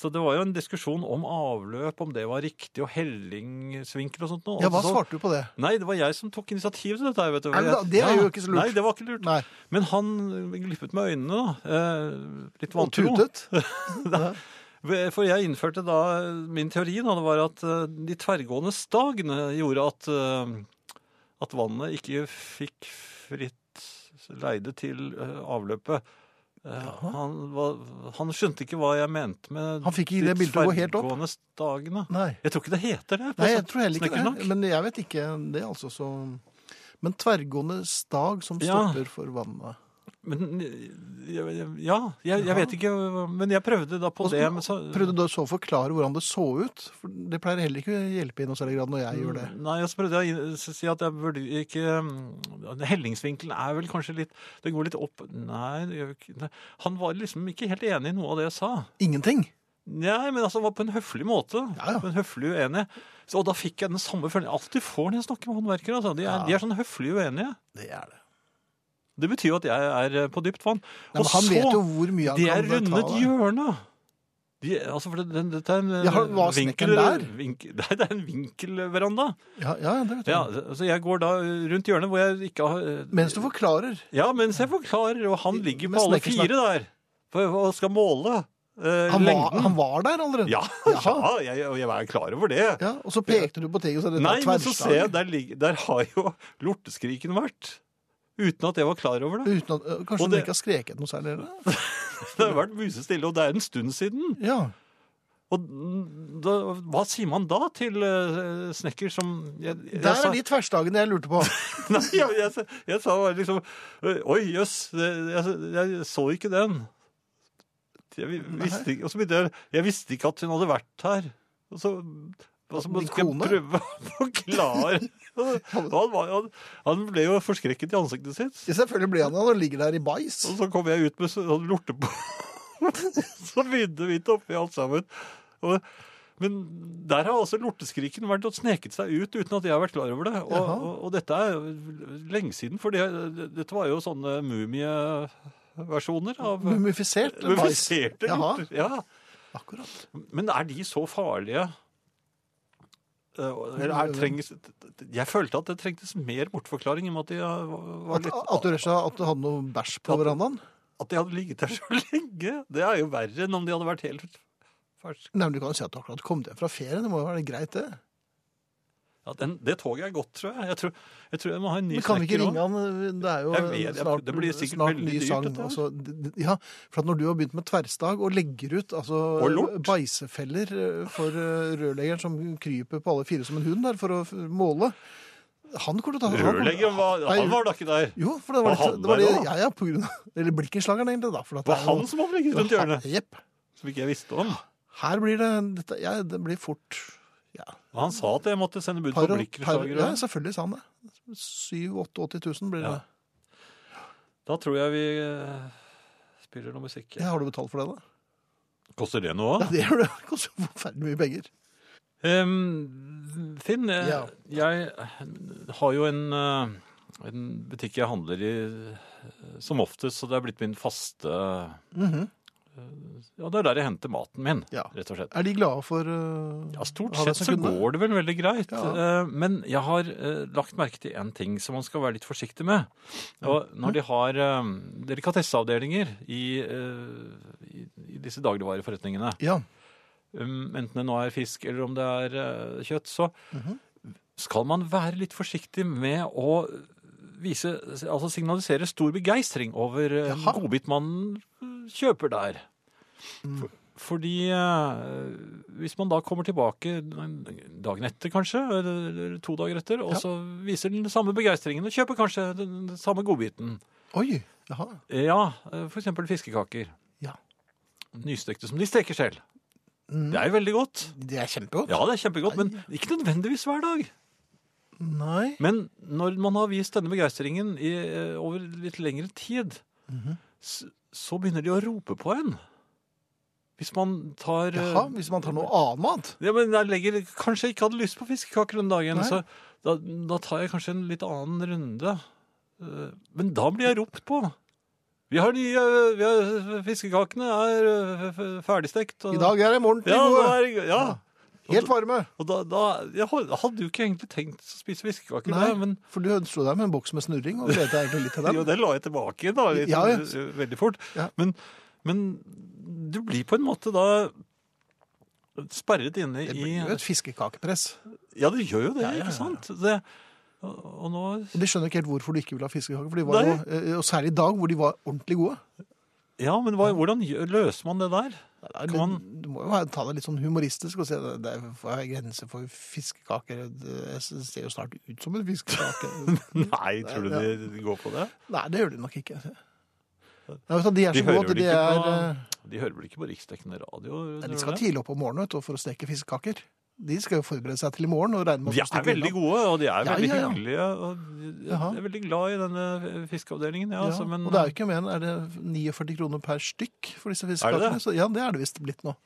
Speaker 2: Så det var jo en diskusjon om avløp, om det var riktig, og hellingsvinkel og sånt. noe.
Speaker 1: Ja, hva
Speaker 2: Altså Så-
Speaker 1: svarte du på det?
Speaker 2: Nei, det var jeg som tok initiativ til dette. her, Vet du.
Speaker 1: Er det da? Det er jo ikke så lurt.
Speaker 2: Nei, det var ikke lurt.
Speaker 1: Nei.
Speaker 2: Men han glippet med øynene, da. Eh, litt
Speaker 1: Og
Speaker 2: vantro.
Speaker 1: tutet?
Speaker 2: For jeg innførte da eh, min teori da, det var at eh, de tverrgående stagene gjorde at, eh, at vannet ikke fikk fritt leide til eh, avløpet. Eh, Han, var, han skjønte ikke hva jeg mente med
Speaker 1: Han fikk ikke
Speaker 2: de
Speaker 1: det bildet å gå helt opp.
Speaker 2: tverrgående stagene.
Speaker 1: Nei.
Speaker 2: Jeg tror ikke det heter det. sånn på
Speaker 1: Nei, jeg tror heller ikke
Speaker 2: snekkersnakk.
Speaker 1: det. Men jeg vet ikke det, altså. Så... Men tverrgående stag som
Speaker 2: Ja.
Speaker 1: stopper for vannet.
Speaker 2: Men, eh, ja, jeg, jeg vet ikke, men jeg prøvde da på
Speaker 1: Og så-
Speaker 2: det. Men så,
Speaker 1: Prøvde du så å forklare hvordan det så ut? For det pleier heller ikke å hjelpe i noe særlig grad når jeg gjør det.
Speaker 2: Mm, Nei, og så prøvde jeg å inn- si at jeg burde ikke mm, Hellingsvinkelen er vel kanskje litt Den går litt opp Nei, det gjør jo ikke nei. Han var liksom ikke helt enig i noe av det jeg sa.
Speaker 1: Ingenting!
Speaker 2: Nei, men altså, det var på en høflig måte.
Speaker 1: Ja, ja.
Speaker 2: På en høflig uenig. Så, og da fikk jeg den samme følelsen. Alt du får når jeg snakker med håndverkere, altså. De er,
Speaker 1: Ja.
Speaker 2: de er sånn høflig uenige.
Speaker 1: Det er det.
Speaker 2: Det betyr jo at jeg er eh, på dypt vann.
Speaker 1: Nei, men han vet jo hvor mye han
Speaker 2: De er
Speaker 1: kan ta
Speaker 2: rundet
Speaker 1: der.
Speaker 2: hjørnet. De, altså, for det, den- dette er en eh,
Speaker 1: Ja, var snekkeren der?
Speaker 2: vinkel, nei, det er en vinkelveranda.
Speaker 1: Ja, ja, det vet
Speaker 2: Ja,
Speaker 1: jeg.
Speaker 2: så jeg går da rundt hjørnet hvor jeg ikke har
Speaker 1: Mens du forklarer.
Speaker 2: Ja, mens jeg forklarer, og han ligger
Speaker 1: Med
Speaker 2: på alle
Speaker 1: snekkersnakk.
Speaker 2: fire der. For og skal måle eh,
Speaker 1: Han var,
Speaker 2: lengden.
Speaker 1: han var der allerede?
Speaker 2: Ja, ja
Speaker 1: Jaha.
Speaker 2: jeg, og jeg var klar over det.
Speaker 1: Ja, og så pekte du på ting og sa dette
Speaker 2: Nei,
Speaker 1: er
Speaker 2: men så ser jeg,
Speaker 1: tverrstag.
Speaker 2: der, ligger- der har jo lorteskriken vært. Uten at jeg var klar over det.
Speaker 1: Uten at, øh, kanskje
Speaker 2: Og
Speaker 1: hun
Speaker 2: det-
Speaker 1: ikke har skreket noe særlig? eller?
Speaker 2: Det har vært musestille, og det er en stund siden.
Speaker 1: Ja.
Speaker 2: Og da, hva sier man da til eh, snekker som jeg, jeg
Speaker 1: Der
Speaker 2: sa-
Speaker 1: er de tverrstagene jeg lurte på.
Speaker 2: Nei, jeg, jeg, sa- jeg sa bare liksom Oi, jøss, det- jeg, jeg så ikke den. Jeg vi- visste ikke, og så begynte jeg Jeg visste ikke at hun hadde vært her. Og så, og så
Speaker 1: Din
Speaker 2: skal jeg
Speaker 1: kone?
Speaker 2: prøve å forklare. Og Han, var, han, han ble jo forskrekket i ansiktet sitt.
Speaker 1: Selvfølgelig ble han det. Han ligger der i bajs.
Speaker 2: Og så kom jeg ut med sånn lortebo. Så begynte vi oppi alt sammen. Og, men der har altså lorteskriken vært og sneket seg ut uten at jeg har vært klar over det. Og,
Speaker 1: Jaha.
Speaker 2: og, og dette er jo lenge siden, for det, dette var jo sånne mumieversjoner av
Speaker 1: Mumifisert eller bajs?
Speaker 2: mumifiserte
Speaker 1: Jaha,
Speaker 2: lorter. Ja.
Speaker 1: akkurat.
Speaker 2: Men er de så farlige? Eh, Eller er, trengs, jeg følte at det trengtes mer bortforklaring i og med at de eh, var
Speaker 1: At,
Speaker 2: litt
Speaker 1: at du rett og slett at du hadde noe bæsj på
Speaker 2: At-
Speaker 1: verandaen?
Speaker 2: At de hadde ligget der så lenge, det er jo verre enn om de hadde vært helt ferske.
Speaker 1: Nei, men Du kan jo si at du akkurat kom hjem fra ferie. Det må jo være greit, det.
Speaker 2: Ja, den, det toget er gått, tror jeg. Jeg tror jeg, tror jeg må ha en ny
Speaker 1: Men kan vi ikke
Speaker 2: snekker
Speaker 1: ringe
Speaker 2: også.
Speaker 1: han? Det er jo
Speaker 2: Jeg vet, jeg-
Speaker 1: snart,
Speaker 2: det blir sikkert
Speaker 1: snart
Speaker 2: veldig
Speaker 1: ny
Speaker 2: dyrt,
Speaker 1: sang.
Speaker 2: dette her.
Speaker 1: altså. D- d- ja, for at når du har begynt med tverrstag og legger ut altså,
Speaker 2: Og lort.
Speaker 1: beisefeller eh, for eh, rørleggeren som kryper på alle fire som en hund der for å f- måle Han kommer til å ta han kommer-
Speaker 2: Rørleggeren var,
Speaker 1: Nei,
Speaker 2: han var da ikke der.
Speaker 1: Jo, for det var,
Speaker 2: Var
Speaker 1: litt,
Speaker 2: han
Speaker 1: det var
Speaker 2: der
Speaker 1: det,
Speaker 2: også?
Speaker 1: ja, ja, på grunn av, Eller blikkenslageren, egentlig. da. For at
Speaker 2: Det var
Speaker 1: det er jo-
Speaker 2: han som hadde ligget rundt
Speaker 1: det var han-
Speaker 2: hjørnet,
Speaker 1: Jepp.
Speaker 2: som ikke jeg visste om.
Speaker 1: Her blir det dette, ja, Det blir fort ja,
Speaker 2: Og Han sa at jeg måtte sende bud på
Speaker 1: par- par-
Speaker 2: blikkerslager.
Speaker 1: Ja, selvfølgelig sa han det. 7-8-80 000 blir det.
Speaker 2: Ja. Da tror jeg vi eh, spiller noe musikk.
Speaker 1: Ja, har du betalt for det, da?
Speaker 2: Koster det noe?
Speaker 1: Ja, det gjør det. Det koster jo forferdelig mye penger.
Speaker 2: Ehm, Finn, eh,
Speaker 1: Ja.
Speaker 2: jeg har jo en, eh, en butikk jeg handler i eh, som oftest, så det er blitt min faste Mhm. eh, Ja, det er der jeg henter maten min,
Speaker 1: Ja.
Speaker 2: rett og slett.
Speaker 1: Er de glade for eh,
Speaker 2: Ja, Stort
Speaker 1: å ha deg
Speaker 2: sett
Speaker 1: som
Speaker 2: så
Speaker 1: kunde?
Speaker 2: går det vel veldig greit.
Speaker 1: Ja.
Speaker 2: eh, Men jeg har eh, lagt merke til én ting som man skal være litt forsiktig med. Og når de har eh, delikatesseavdelinger i, eh, i, i disse dagligvareforretningene,
Speaker 1: Ja.
Speaker 2: um, enten det nå er fisk eller om det er eh, kjøtt, så
Speaker 1: Mhm.
Speaker 2: skal man være litt forsiktig med å vise, altså signalisere stor begeistring over eh,
Speaker 1: Jaha.
Speaker 2: godbit man eh, kjøper der.
Speaker 1: Mm.
Speaker 2: For- Fordi eh, hvis man da kommer tilbake dagen etter kanskje, eller eller to dager etter, og
Speaker 1: Ja.
Speaker 2: så viser den samme begeistringen og kjøper kanskje den, den samme godbiten.
Speaker 1: Oi. Jaha.
Speaker 2: Ja, eh, for eksempel fiskekaker.
Speaker 1: Ja.
Speaker 2: Nystekte som de steker selv. Det er jo veldig godt.
Speaker 1: Det Mm. er kjempegodt.
Speaker 2: Ja, det er kjempegodt, men ikke nødvendigvis hver dag.
Speaker 1: Nei.
Speaker 2: Men når man har vist denne begeistringen i, eh, over litt lengre tid,
Speaker 1: Mhm.
Speaker 2: s- så begynner de å rope på en. Hvis man tar eh,
Speaker 1: Jaha, hvis man tar noe annet.
Speaker 2: Ja, men jeg legger, Kanskje jeg ikke hadde lyst på fiskekaker den dagen,
Speaker 1: Nei.
Speaker 2: så da, da tar jeg kanskje en litt annen runde. Eh, Men da blir jeg ropt på. Vi har nye vi har, Fiskekakene er eh, f- f- ferdigstekt. og-
Speaker 1: I dag er det morgen til
Speaker 2: ja,
Speaker 1: gode.
Speaker 2: nå er, ja.
Speaker 1: Helt varme.
Speaker 2: Og da, da Jeg had- hadde jo ikke egentlig tenkt å spise fiskekaker,
Speaker 1: Nei.
Speaker 2: da, men
Speaker 1: For du ønsket deg med en boks med snurring, og delte egentlig litt til
Speaker 2: Jo,
Speaker 1: dem.
Speaker 2: det la jeg tilbake igjen, da, litt,
Speaker 1: Ja, ja.
Speaker 2: eh, veldig fort.
Speaker 1: Ja.
Speaker 2: Men, men du blir på en måte da sperret inne
Speaker 1: Det
Speaker 2: i
Speaker 1: blir jo et fiskekakepress.
Speaker 2: Ja, det gjør jo det,
Speaker 1: Ja, ja, ja.
Speaker 2: ikke sant? Det, og, og nå
Speaker 1: Og De skjønner ikke helt hvorfor du ikke vil ha fiskekaker, for de var jo, eh, og særlig i dag, hvor de var ordentlig gode.
Speaker 2: Ja, men hva, hvordan gjør- løser man det der?
Speaker 1: Det-
Speaker 2: Kan man,
Speaker 1: Du må jo ha- ta det litt sånn humoristisk og si at det er grenser for fiskekaker. Det ser jo snart ut som en fiskekake.
Speaker 2: nei, tror du de går på det?
Speaker 1: Nei, det gjør de nok ikke. Nei, vet du, de er
Speaker 2: De
Speaker 1: så
Speaker 2: hører
Speaker 1: gode. at
Speaker 2: vel
Speaker 1: De,
Speaker 2: ikke
Speaker 1: er,
Speaker 2: på-
Speaker 1: eh,
Speaker 2: De hører vel ikke på riksdekkende radio?
Speaker 1: nei,
Speaker 2: gjør
Speaker 1: de skal
Speaker 2: det?
Speaker 1: tidlig opp om morgenen vet du, for å steke fiskekaker. De skal jo forberede seg til i morgen. og regne med at
Speaker 2: De
Speaker 1: du stikker
Speaker 2: er veldig
Speaker 1: unna.
Speaker 2: gode, og de
Speaker 1: Ja,
Speaker 2: er veldig
Speaker 1: ja, ja.
Speaker 2: hyggelige. Og jeg
Speaker 1: Jaha.
Speaker 2: er veldig glad i denne fiskeavdelingen. Ja,
Speaker 1: Ja,
Speaker 2: altså, men,
Speaker 1: og det er jo ikke mer enn er det 49 kroner per stykk for disse fiskekakene.
Speaker 2: det?
Speaker 1: Så, ja, det er det visst blitt nå.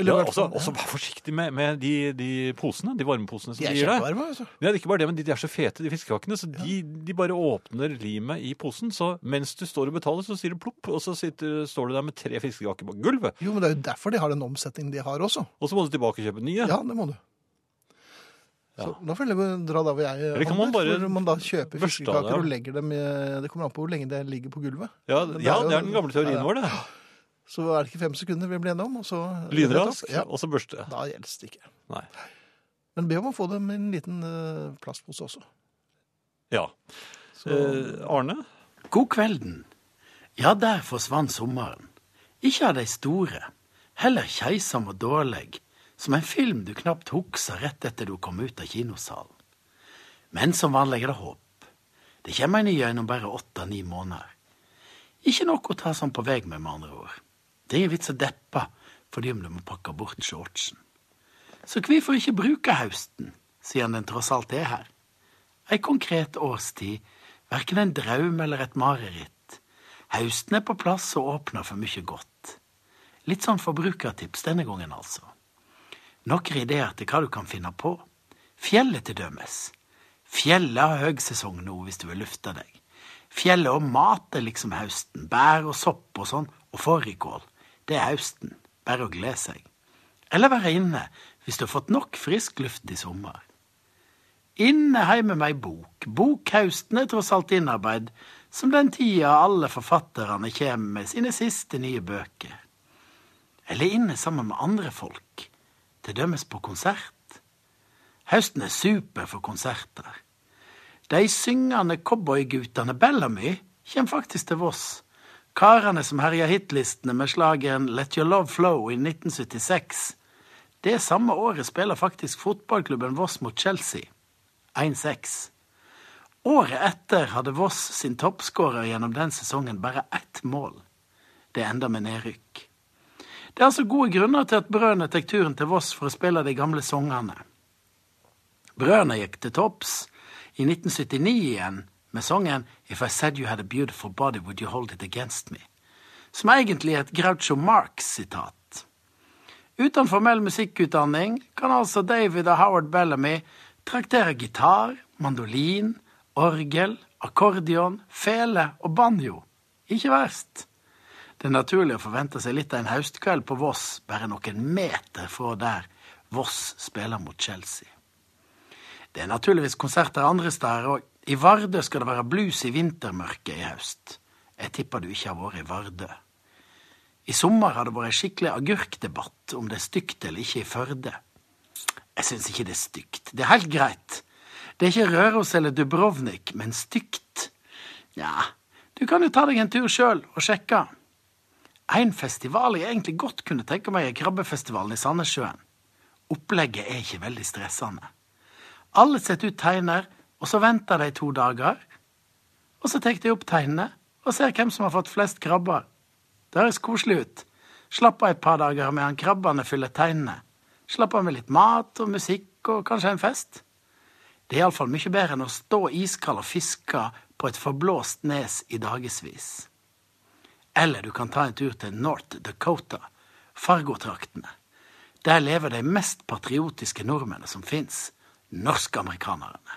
Speaker 1: Eller
Speaker 2: ja,
Speaker 1: i hvert
Speaker 2: også,
Speaker 1: fall-
Speaker 2: også vær forsiktig med, med de, de posene, de varmeposene
Speaker 1: de
Speaker 2: som de,
Speaker 1: er
Speaker 2: gir deg.
Speaker 1: kjempevarme. altså. vet du.
Speaker 2: Ja, det er ikke bare det, men de, de er så fete, de fiskekakene, så de, de bare åpner limet i posen. Så mens du står og betaler, så sier det plopp, og så sitter, står du der med tre fiskekaker på gulvet.
Speaker 1: Jo, men det er jo derfor de har den omsetningen de har også.
Speaker 2: Og så må du tilbake og kjøpe nye.
Speaker 1: Ja, det må du. Så da får jeg dra der hvor jeg
Speaker 2: Eller kan man
Speaker 1: handler,
Speaker 2: bare
Speaker 1: hvor man da kjøper
Speaker 2: børste av
Speaker 1: fiskekaker
Speaker 2: dem?
Speaker 1: og legger dem i Det kommer an på hvor lenge det ligger på gulvet.
Speaker 2: Ja,
Speaker 1: det er
Speaker 2: ja,
Speaker 1: jo-
Speaker 2: det er den gamle teorien
Speaker 1: Ja, ja.
Speaker 2: vår, det.
Speaker 1: Så er det ikke fem sekunder vi blir enige om, og så
Speaker 2: Lynrask,
Speaker 1: Ja,
Speaker 2: og så børste.
Speaker 1: da gjelder det ikke.
Speaker 2: Nei.
Speaker 1: Men be om å få dem i en liten eh, plastpose også.
Speaker 2: Ja.
Speaker 1: Så,
Speaker 2: Eh, Arne?
Speaker 4: God kvelden. Ja, der forsvant sommeren. Ikke av de store. Heller keisom og dårlig, som en film du knapt husker rett etter du kom ut av kinosalen. Men som vanlig er det håp. Det kommer en ny gjennom bare åtte-ni måneder. Ikke nok å ta sånn på vei med, med andre ord. Det er ingen vits å deppe fordi om du må pakke bort shortsen. Så hvorfor ikke bruke høsten, siden den tross alt er her? Ei konkret årstid, verken en draum eller et mareritt. Høsten er på plass og åpner for mye godt. Litt sånn forbrukertips denne gangen, altså. Noen ideer til hva du kan finne på. Fjellet til dømes. Fjellet har høgsesong nå hvis du vil lufte deg. Fjellet og mat er liksom høsten. Bær og sopp og sånn, og fårikål. Det er høsten. Bare å glede seg. Eller være inne hvis du har fått nok frisk luft i sommer. Inne heime med ei bok. Bokhausten er tross alt innarbeid som den tida alle forfatterne kjem med sine siste nye bøker. Eller inne sammen med andre folk, til dømes på konsert. Høsten er super for konserter. De syngende cowboygutene Bellamy kjem faktisk til Voss. Karene som herja hitlistene med slageren Let Your Love Flow i 1976. Det samme året spiller faktisk fotballklubben Voss mot Chelsea. 1-6. Året etter hadde Voss sin toppskårer gjennom den sesongen bare ett mål. Det enda med nedrykk. Det er altså gode grunner til at Brødrene tar turen til Voss for å spille de gamle sangene. Brødrene gikk til topps i 1979 igjen med sangen If I Said You Had A Beautiful Body Would You Hold It Against Me, som egentlig er et Groucho Marx-sitat. Uten formell musikkutdanning kan altså David og Howard Bellamy traktere gitar, mandolin, orgel, akkordeon, fele og banjo. Ikke verst. Det er naturlig å forvente seg litt av en høstkveld på Voss, bare noen meter fra der Voss spiller mot Chelsea. Det er naturligvis konserter andre steder òg. I Vardø skal det være blues i vintermørket i høst. Jeg tipper du ikke har vært i Vardø. I sommer har det vært en skikkelig agurkdebatt om det er stygt eller ikke i Førde. Jeg syns ikke det er stygt. Det er helt greit. Det er ikke Røros eller Dubrovnik, men stygt. Nja, du kan jo ta deg en tur sjøl og sjekke. En festival jeg egentlig godt kunne tenke meg, er Krabbefestivalen i Sandnessjøen. Opplegget er ikke veldig stressende. Alle setter ut teiner, og så venter de to dager. Og så tar de opp teinene og ser hvem som har fått flest krabber. Det høres koselig ut. Slapp av et par dager medan krabbene fyller teinene. Slapp av med litt mat og musikk og kanskje en fest. Det er iallfall mye bedre enn å stå iskald og fiske på et forblåst nes i dagevis. Eller du kan ta en tur til North Dakota, Fargo-traktene. Der lever de mest patriotiske nordmennene som fins, norskamerikanerne.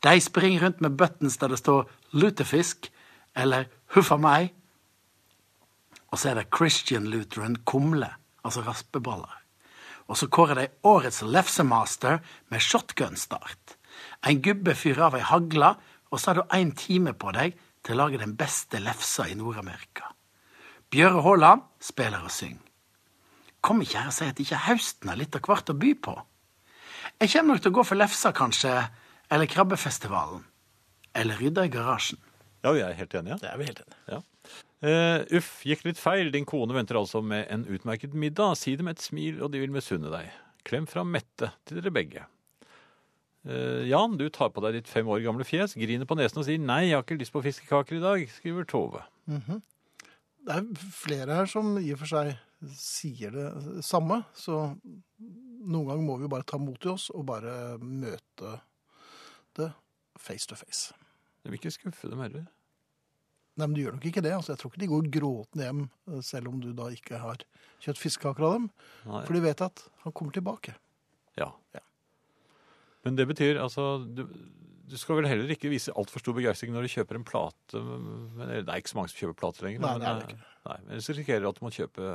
Speaker 4: De springer rundt med buttons der det står 'lutefisk' eller 'huffa meg', og så er det Christian Lutheran kumle, altså raspeballer. Og så kårer de årets lefsemaster med shotgun-start. En gubbe fyrer av ei hagle, og så har du én time på deg til å lage den beste lefsa i Nord-Amerika. Bjøre Haaland spiller og synger. Kom ikke her og si at ikke høsten har litt av hvert å by på. Jeg kommer nok til å gå for lefsa, kanskje, eller krabbefestivalen. Eller rydde i garasjen.
Speaker 2: Ja, vi er helt enige.
Speaker 5: Det er vi helt enige.
Speaker 2: Ja. Eh, uff, gikk litt feil. Din kone venter altså med en utmerket middag. Si det med et smil, og de vil misunne deg. Klem fra Mette til dere begge. Eh, Jan, du tar på deg ditt fem år gamle fjes, griner på nesen og sier 'nei, jeg har ikke lyst på fiskekaker i dag', skriver Tove.
Speaker 1: Det er flere her som i og for seg sier det samme, så noen ganger må vi jo bare ta mot i oss og bare møte det face to face.
Speaker 2: Jeg vil ikke skuffe dem heller.
Speaker 1: Nei, men du gjør nok ikke det. Altså, jeg tror ikke de går gråtende hjem, eh, selv om du da ikke har kjøtt fiskekaker av dem.
Speaker 2: Nei.
Speaker 1: For de vet at han kommer tilbake.
Speaker 2: Ja.
Speaker 1: Ja.
Speaker 2: Men det betyr altså du, du skal vel heller ikke vise altfor stor begeistring når du kjøper en plate men, Det er ikke så mange som kjøper plater lenger.
Speaker 1: Nei,
Speaker 2: men,
Speaker 1: det er det
Speaker 2: eh, Nei, men ellers risikerer du at du må kjøpe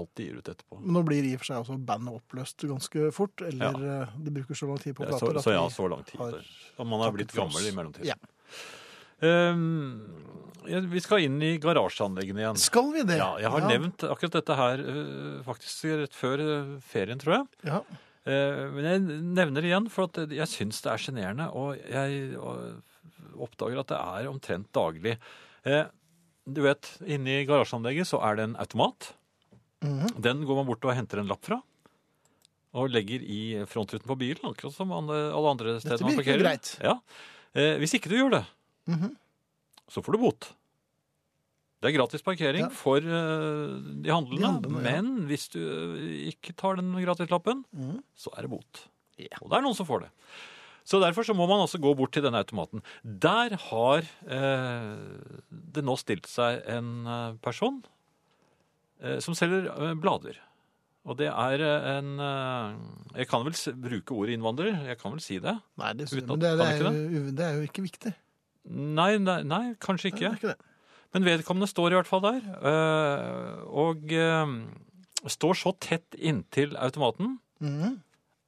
Speaker 2: alt de gir ut etterpå.
Speaker 1: Men nå blir i og for seg også bandet oppløst ganske fort, eller eh, de bruker så lang tid på
Speaker 2: Ja,
Speaker 1: plater.
Speaker 2: så,
Speaker 1: at
Speaker 2: så ja,
Speaker 1: de
Speaker 2: så lang tid.
Speaker 1: har
Speaker 2: der. Og man har
Speaker 1: takket
Speaker 2: blitt
Speaker 1: for oss.
Speaker 2: gammel i mellomtiden.
Speaker 1: Ja.
Speaker 2: Eh, ja, vi skal inn i garasjeanleggene igjen.
Speaker 1: Skal vi det?
Speaker 2: Ja, jeg har
Speaker 1: Ja,
Speaker 2: nevnt akkurat dette her eh, faktisk rett før eh, ferien, tror jeg.
Speaker 1: Ja.
Speaker 2: Eh, Men jeg nevner det igjen, for at jeg syns det er sjenerende. Og jeg og oppdager at det er omtrent daglig. Eh, Du vet, inni garasjeanlegget så er det en automat.
Speaker 1: Mhm.
Speaker 2: Den går man bort og henter en lapp fra. Og legger i frontruten på bilen, akkurat som an- alle andre steder man
Speaker 1: virker
Speaker 2: parkerer.
Speaker 1: greit.
Speaker 2: Ja. Eh, Hvis ikke du gjør det,
Speaker 1: Mhm.
Speaker 2: så får du bot. Det er gratis parkering
Speaker 1: Ja.
Speaker 2: for eh, de handlende,
Speaker 1: De handlende, ja.
Speaker 2: men hvis du eh, ikke tar den gratislappen,
Speaker 1: Mhm.
Speaker 2: så er det bot.
Speaker 5: Ja.
Speaker 2: Og det er noen som får det. Så derfor så må man altså gå bort til denne automaten. Der har eh, det nå stilt seg en eh, person eh, som selger eh, blader. Og det er eh, en eh, Jeg kan vel s- bruke ordet innvandrer, jeg kan vel si det?
Speaker 1: Nei, det,
Speaker 2: Uten at-
Speaker 1: men det, det,
Speaker 2: kan
Speaker 1: er,
Speaker 2: ikke
Speaker 1: jo, det er jo ikke viktig.
Speaker 2: Nei, nei, nei kanskje
Speaker 1: Nei,
Speaker 2: ikke.
Speaker 1: det er ikke det.
Speaker 2: Men vedkommende står i hvert fall der, eh, og eh, står så tett inntil automaten
Speaker 1: Mhm.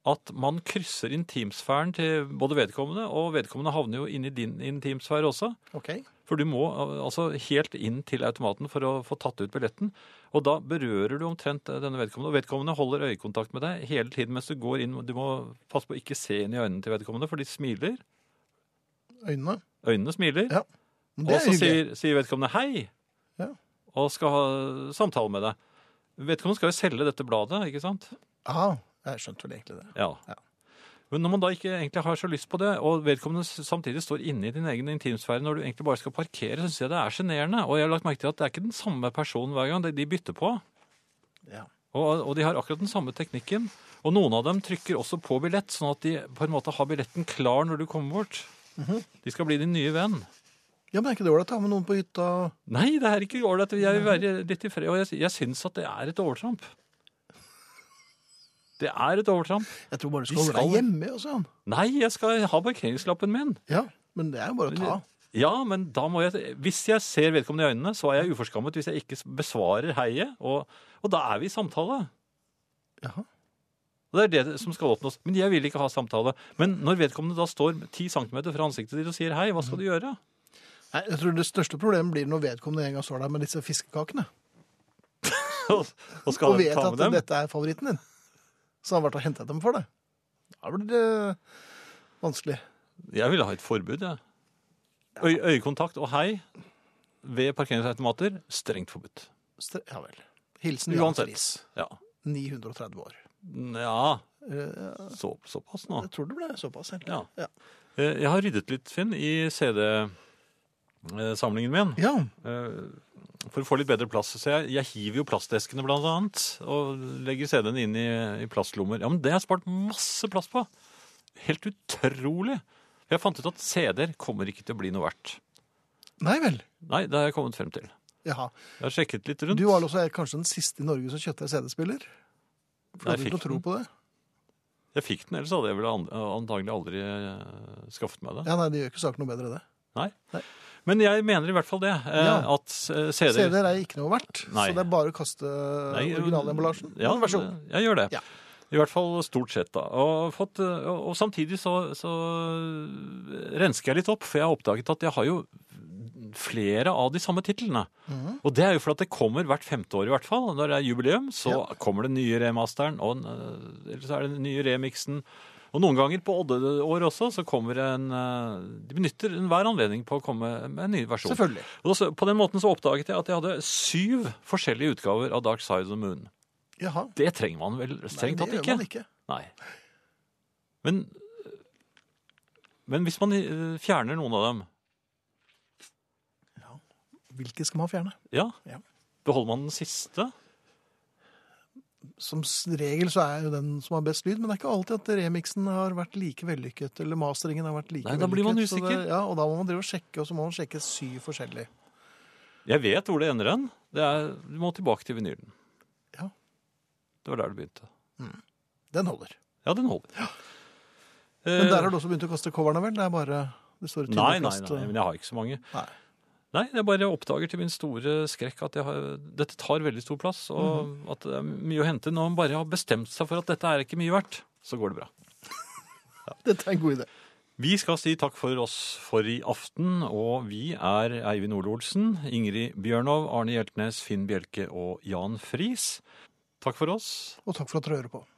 Speaker 2: at man krysser intimsfæren til både vedkommende, og vedkommende havner jo inn i din intimsfære også.
Speaker 1: OK.
Speaker 2: For du må eh, altså helt inn til automaten for å få tatt ut billetten. Og da berører du omtrent eh, denne vedkommende. Og vedkommende holder øyekontakt med deg hele tiden mens du går inn. Du må passe på å ikke se inn i øynene til vedkommende, for de smiler.
Speaker 1: Øynene.
Speaker 2: Øynene smiler.
Speaker 1: Ja, Men Det
Speaker 2: og
Speaker 1: er
Speaker 2: så
Speaker 1: hyggelig.
Speaker 2: sier, sier vedkommende hei,
Speaker 1: Ja.
Speaker 2: og skal ha samtale med deg. Vedkommende skal jo selge dette bladet, ikke sant?
Speaker 1: Ja, jeg skjønte vel egentlig det.
Speaker 2: Ja.
Speaker 1: Ja.
Speaker 2: Men når man da ikke egentlig har så lyst på det, og vedkommende s- samtidig står inne i din egen intimsfære når du egentlig bare skal parkere, så syns jeg det er sjenerende. Og jeg har lagt merke til at det er ikke den samme personen hver gang. det- De bytter på.
Speaker 1: Ja.
Speaker 2: Og, og de har akkurat den samme teknikken. Og noen av dem trykker også på billett, sånn at de på en måte har billetten klar når du kommer bort.
Speaker 1: Mhm.
Speaker 2: De skal bli din nye venn.
Speaker 1: Ja, men er ikke det ålreit å ha med noen på hytta?
Speaker 2: Nei, det er ikke ålreit. Jeg vil være litt i fred. Og jeg, jeg syns at det er et overtramp. Det er et overtramp.
Speaker 1: Jeg tror bare du
Speaker 2: Vi
Speaker 1: skal holde
Speaker 2: skal-
Speaker 1: deg hjemme. og sånn.
Speaker 2: Nei, jeg skal ha parkeringslappen min.
Speaker 1: Ja, Men det er jo bare å ta.
Speaker 2: Ja, men da må jeg Hvis jeg ser vedkommende i øynene, så er jeg uforskammet hvis jeg ikke besvarer heiet. Og, og da er vi i samtale.
Speaker 1: Jaha.
Speaker 2: Og det er det som skal oppnås. Men jeg vil ikke ha samtale. Men når vedkommende da står 10 cm fra ansiktet ditt og sier hei, hva
Speaker 1: Mm.
Speaker 2: skal du gjøre?
Speaker 1: Nei, jeg tror Det største problemet blir når vedkommende en gang står der med disse fiskekakene
Speaker 2: Og, og skal
Speaker 1: og vet
Speaker 2: ta
Speaker 1: at
Speaker 2: med dem?
Speaker 1: dette er favoritten din. Så han har vært og henta dem for deg. Da blir det vanskelig.
Speaker 2: Jeg ville ha et forbud, jeg. Øy, øyekontakt og hei ved parkeringsautomater strengt forbudt.
Speaker 1: Stre- Ja vel. Hilsen Jan
Speaker 2: Uansett.
Speaker 1: Friis.
Speaker 2: Ja.
Speaker 1: 930 år.
Speaker 2: ja
Speaker 1: Eh,
Speaker 2: så, såpass nå.
Speaker 1: Jeg tror det ble såpass. egentlig.
Speaker 2: Ja.
Speaker 1: Ja.
Speaker 2: Eh, Jeg har ryddet litt, Finn, i CD-samlingen min.
Speaker 1: ja.
Speaker 2: eh, For å få litt bedre plass. Så jeg, jeg hiver jo plasteskene, blant annet. Og legger CD-en inn i, i plastlommer. Ja, men det har jeg spart masse plass på. helt utrolig. Jeg fant ut at CD-er kommer ikke til å bli noe verdt.
Speaker 1: Nei vel.
Speaker 2: Nei, det har jeg kommet frem til.
Speaker 1: Jaha.
Speaker 2: Jeg har sjekket litt rundt.
Speaker 1: Du var også kanskje den siste i Norge som kjøpte en CD-spiller?
Speaker 2: Nei,
Speaker 1: Får du
Speaker 2: jeg
Speaker 1: ikke
Speaker 2: fikk
Speaker 1: tro
Speaker 2: den.
Speaker 1: på det?
Speaker 2: Jeg fikk den, ellers hadde jeg vel an- antagelig aldri eh, skaffet meg det.
Speaker 1: Ja, nei, Det gjør ikke saken noe bedre, det.
Speaker 2: Men jeg mener i hvert fall det, eh,
Speaker 1: Ja.
Speaker 2: at eh, CD-er
Speaker 1: CD-er er ikke noe verdt,
Speaker 2: Nei.
Speaker 1: så det er bare å kaste
Speaker 2: Nei,
Speaker 1: originalemballasjen.
Speaker 2: Ja,
Speaker 1: Vær så god.
Speaker 2: Jeg gjør det.
Speaker 1: Ja.
Speaker 2: I hvert fall stort sett, da. Og, fått, og, og samtidig så, så rensker jeg litt opp, for jeg har oppdaget at jeg har jo flere av de samme titlene.
Speaker 1: Mhm.
Speaker 2: Og det er jo for at det kommer hvert femte år i hvert fall. Når det er jubileum, så
Speaker 1: Ja.
Speaker 2: kommer den nye remasteren, og eh, eller så er det den nye remixen. Og noen ganger på Odde-år også, så kommer en eh, De benytter enhver anledning på å komme med en ny versjon.
Speaker 1: Selvfølgelig.
Speaker 2: Og så, på den måten så oppdaget jeg at jeg hadde syv forskjellige utgaver av Dark Side of the Moon.
Speaker 1: Jaha.
Speaker 2: Det trenger man vel strengt
Speaker 1: Nei,
Speaker 2: tatt
Speaker 1: det
Speaker 2: ikke.
Speaker 1: gjør man ikke.
Speaker 2: Nei. Men, men hvis man eh, fjerner noen av dem,
Speaker 1: Hvilke skal man fjerne?
Speaker 2: ja,
Speaker 1: Ja.
Speaker 2: beholder man den siste?
Speaker 1: Som s- regel så er jo den som har best lyd, men det er ikke alltid at remixen har vært like vellykket, eller masteringen har vært like
Speaker 2: Nei,
Speaker 1: vellykket.
Speaker 2: da blir man
Speaker 1: så
Speaker 2: usikker.
Speaker 1: Det, ja, og da må man drive og sjekke, og så må man sjekke syv forskjellige.
Speaker 2: Jeg vet hvor det ender hen. Det er, du må tilbake til vinylen.
Speaker 1: Ja.
Speaker 2: Det var der det begynte.
Speaker 1: Den holder.
Speaker 2: Ja, den holder. Eh,
Speaker 1: Men der har du også begynt å kaste coverne, vel? Det er bare det står
Speaker 2: Nei, nei,
Speaker 1: kast,
Speaker 2: nei, men jeg har ikke så mange.
Speaker 1: eh. Nei.
Speaker 2: Nei, jeg bare oppdager til min store skrekk at jeg har, dette tar veldig stor plass, og
Speaker 1: Mhm.
Speaker 2: at det er mye å hente. Når man bare har bestemt seg for at dette er ikke mye verdt, så går det bra.
Speaker 1: Dette er en god idé.
Speaker 2: Vi skal si takk for oss for i aften, og vi er Eivind Ole Olsen, Ingrid Bjørnov, Arne Hjeltnes, Finn Bjelke og Jan Friis. Takk for oss.
Speaker 1: Og takk for at dere hører på.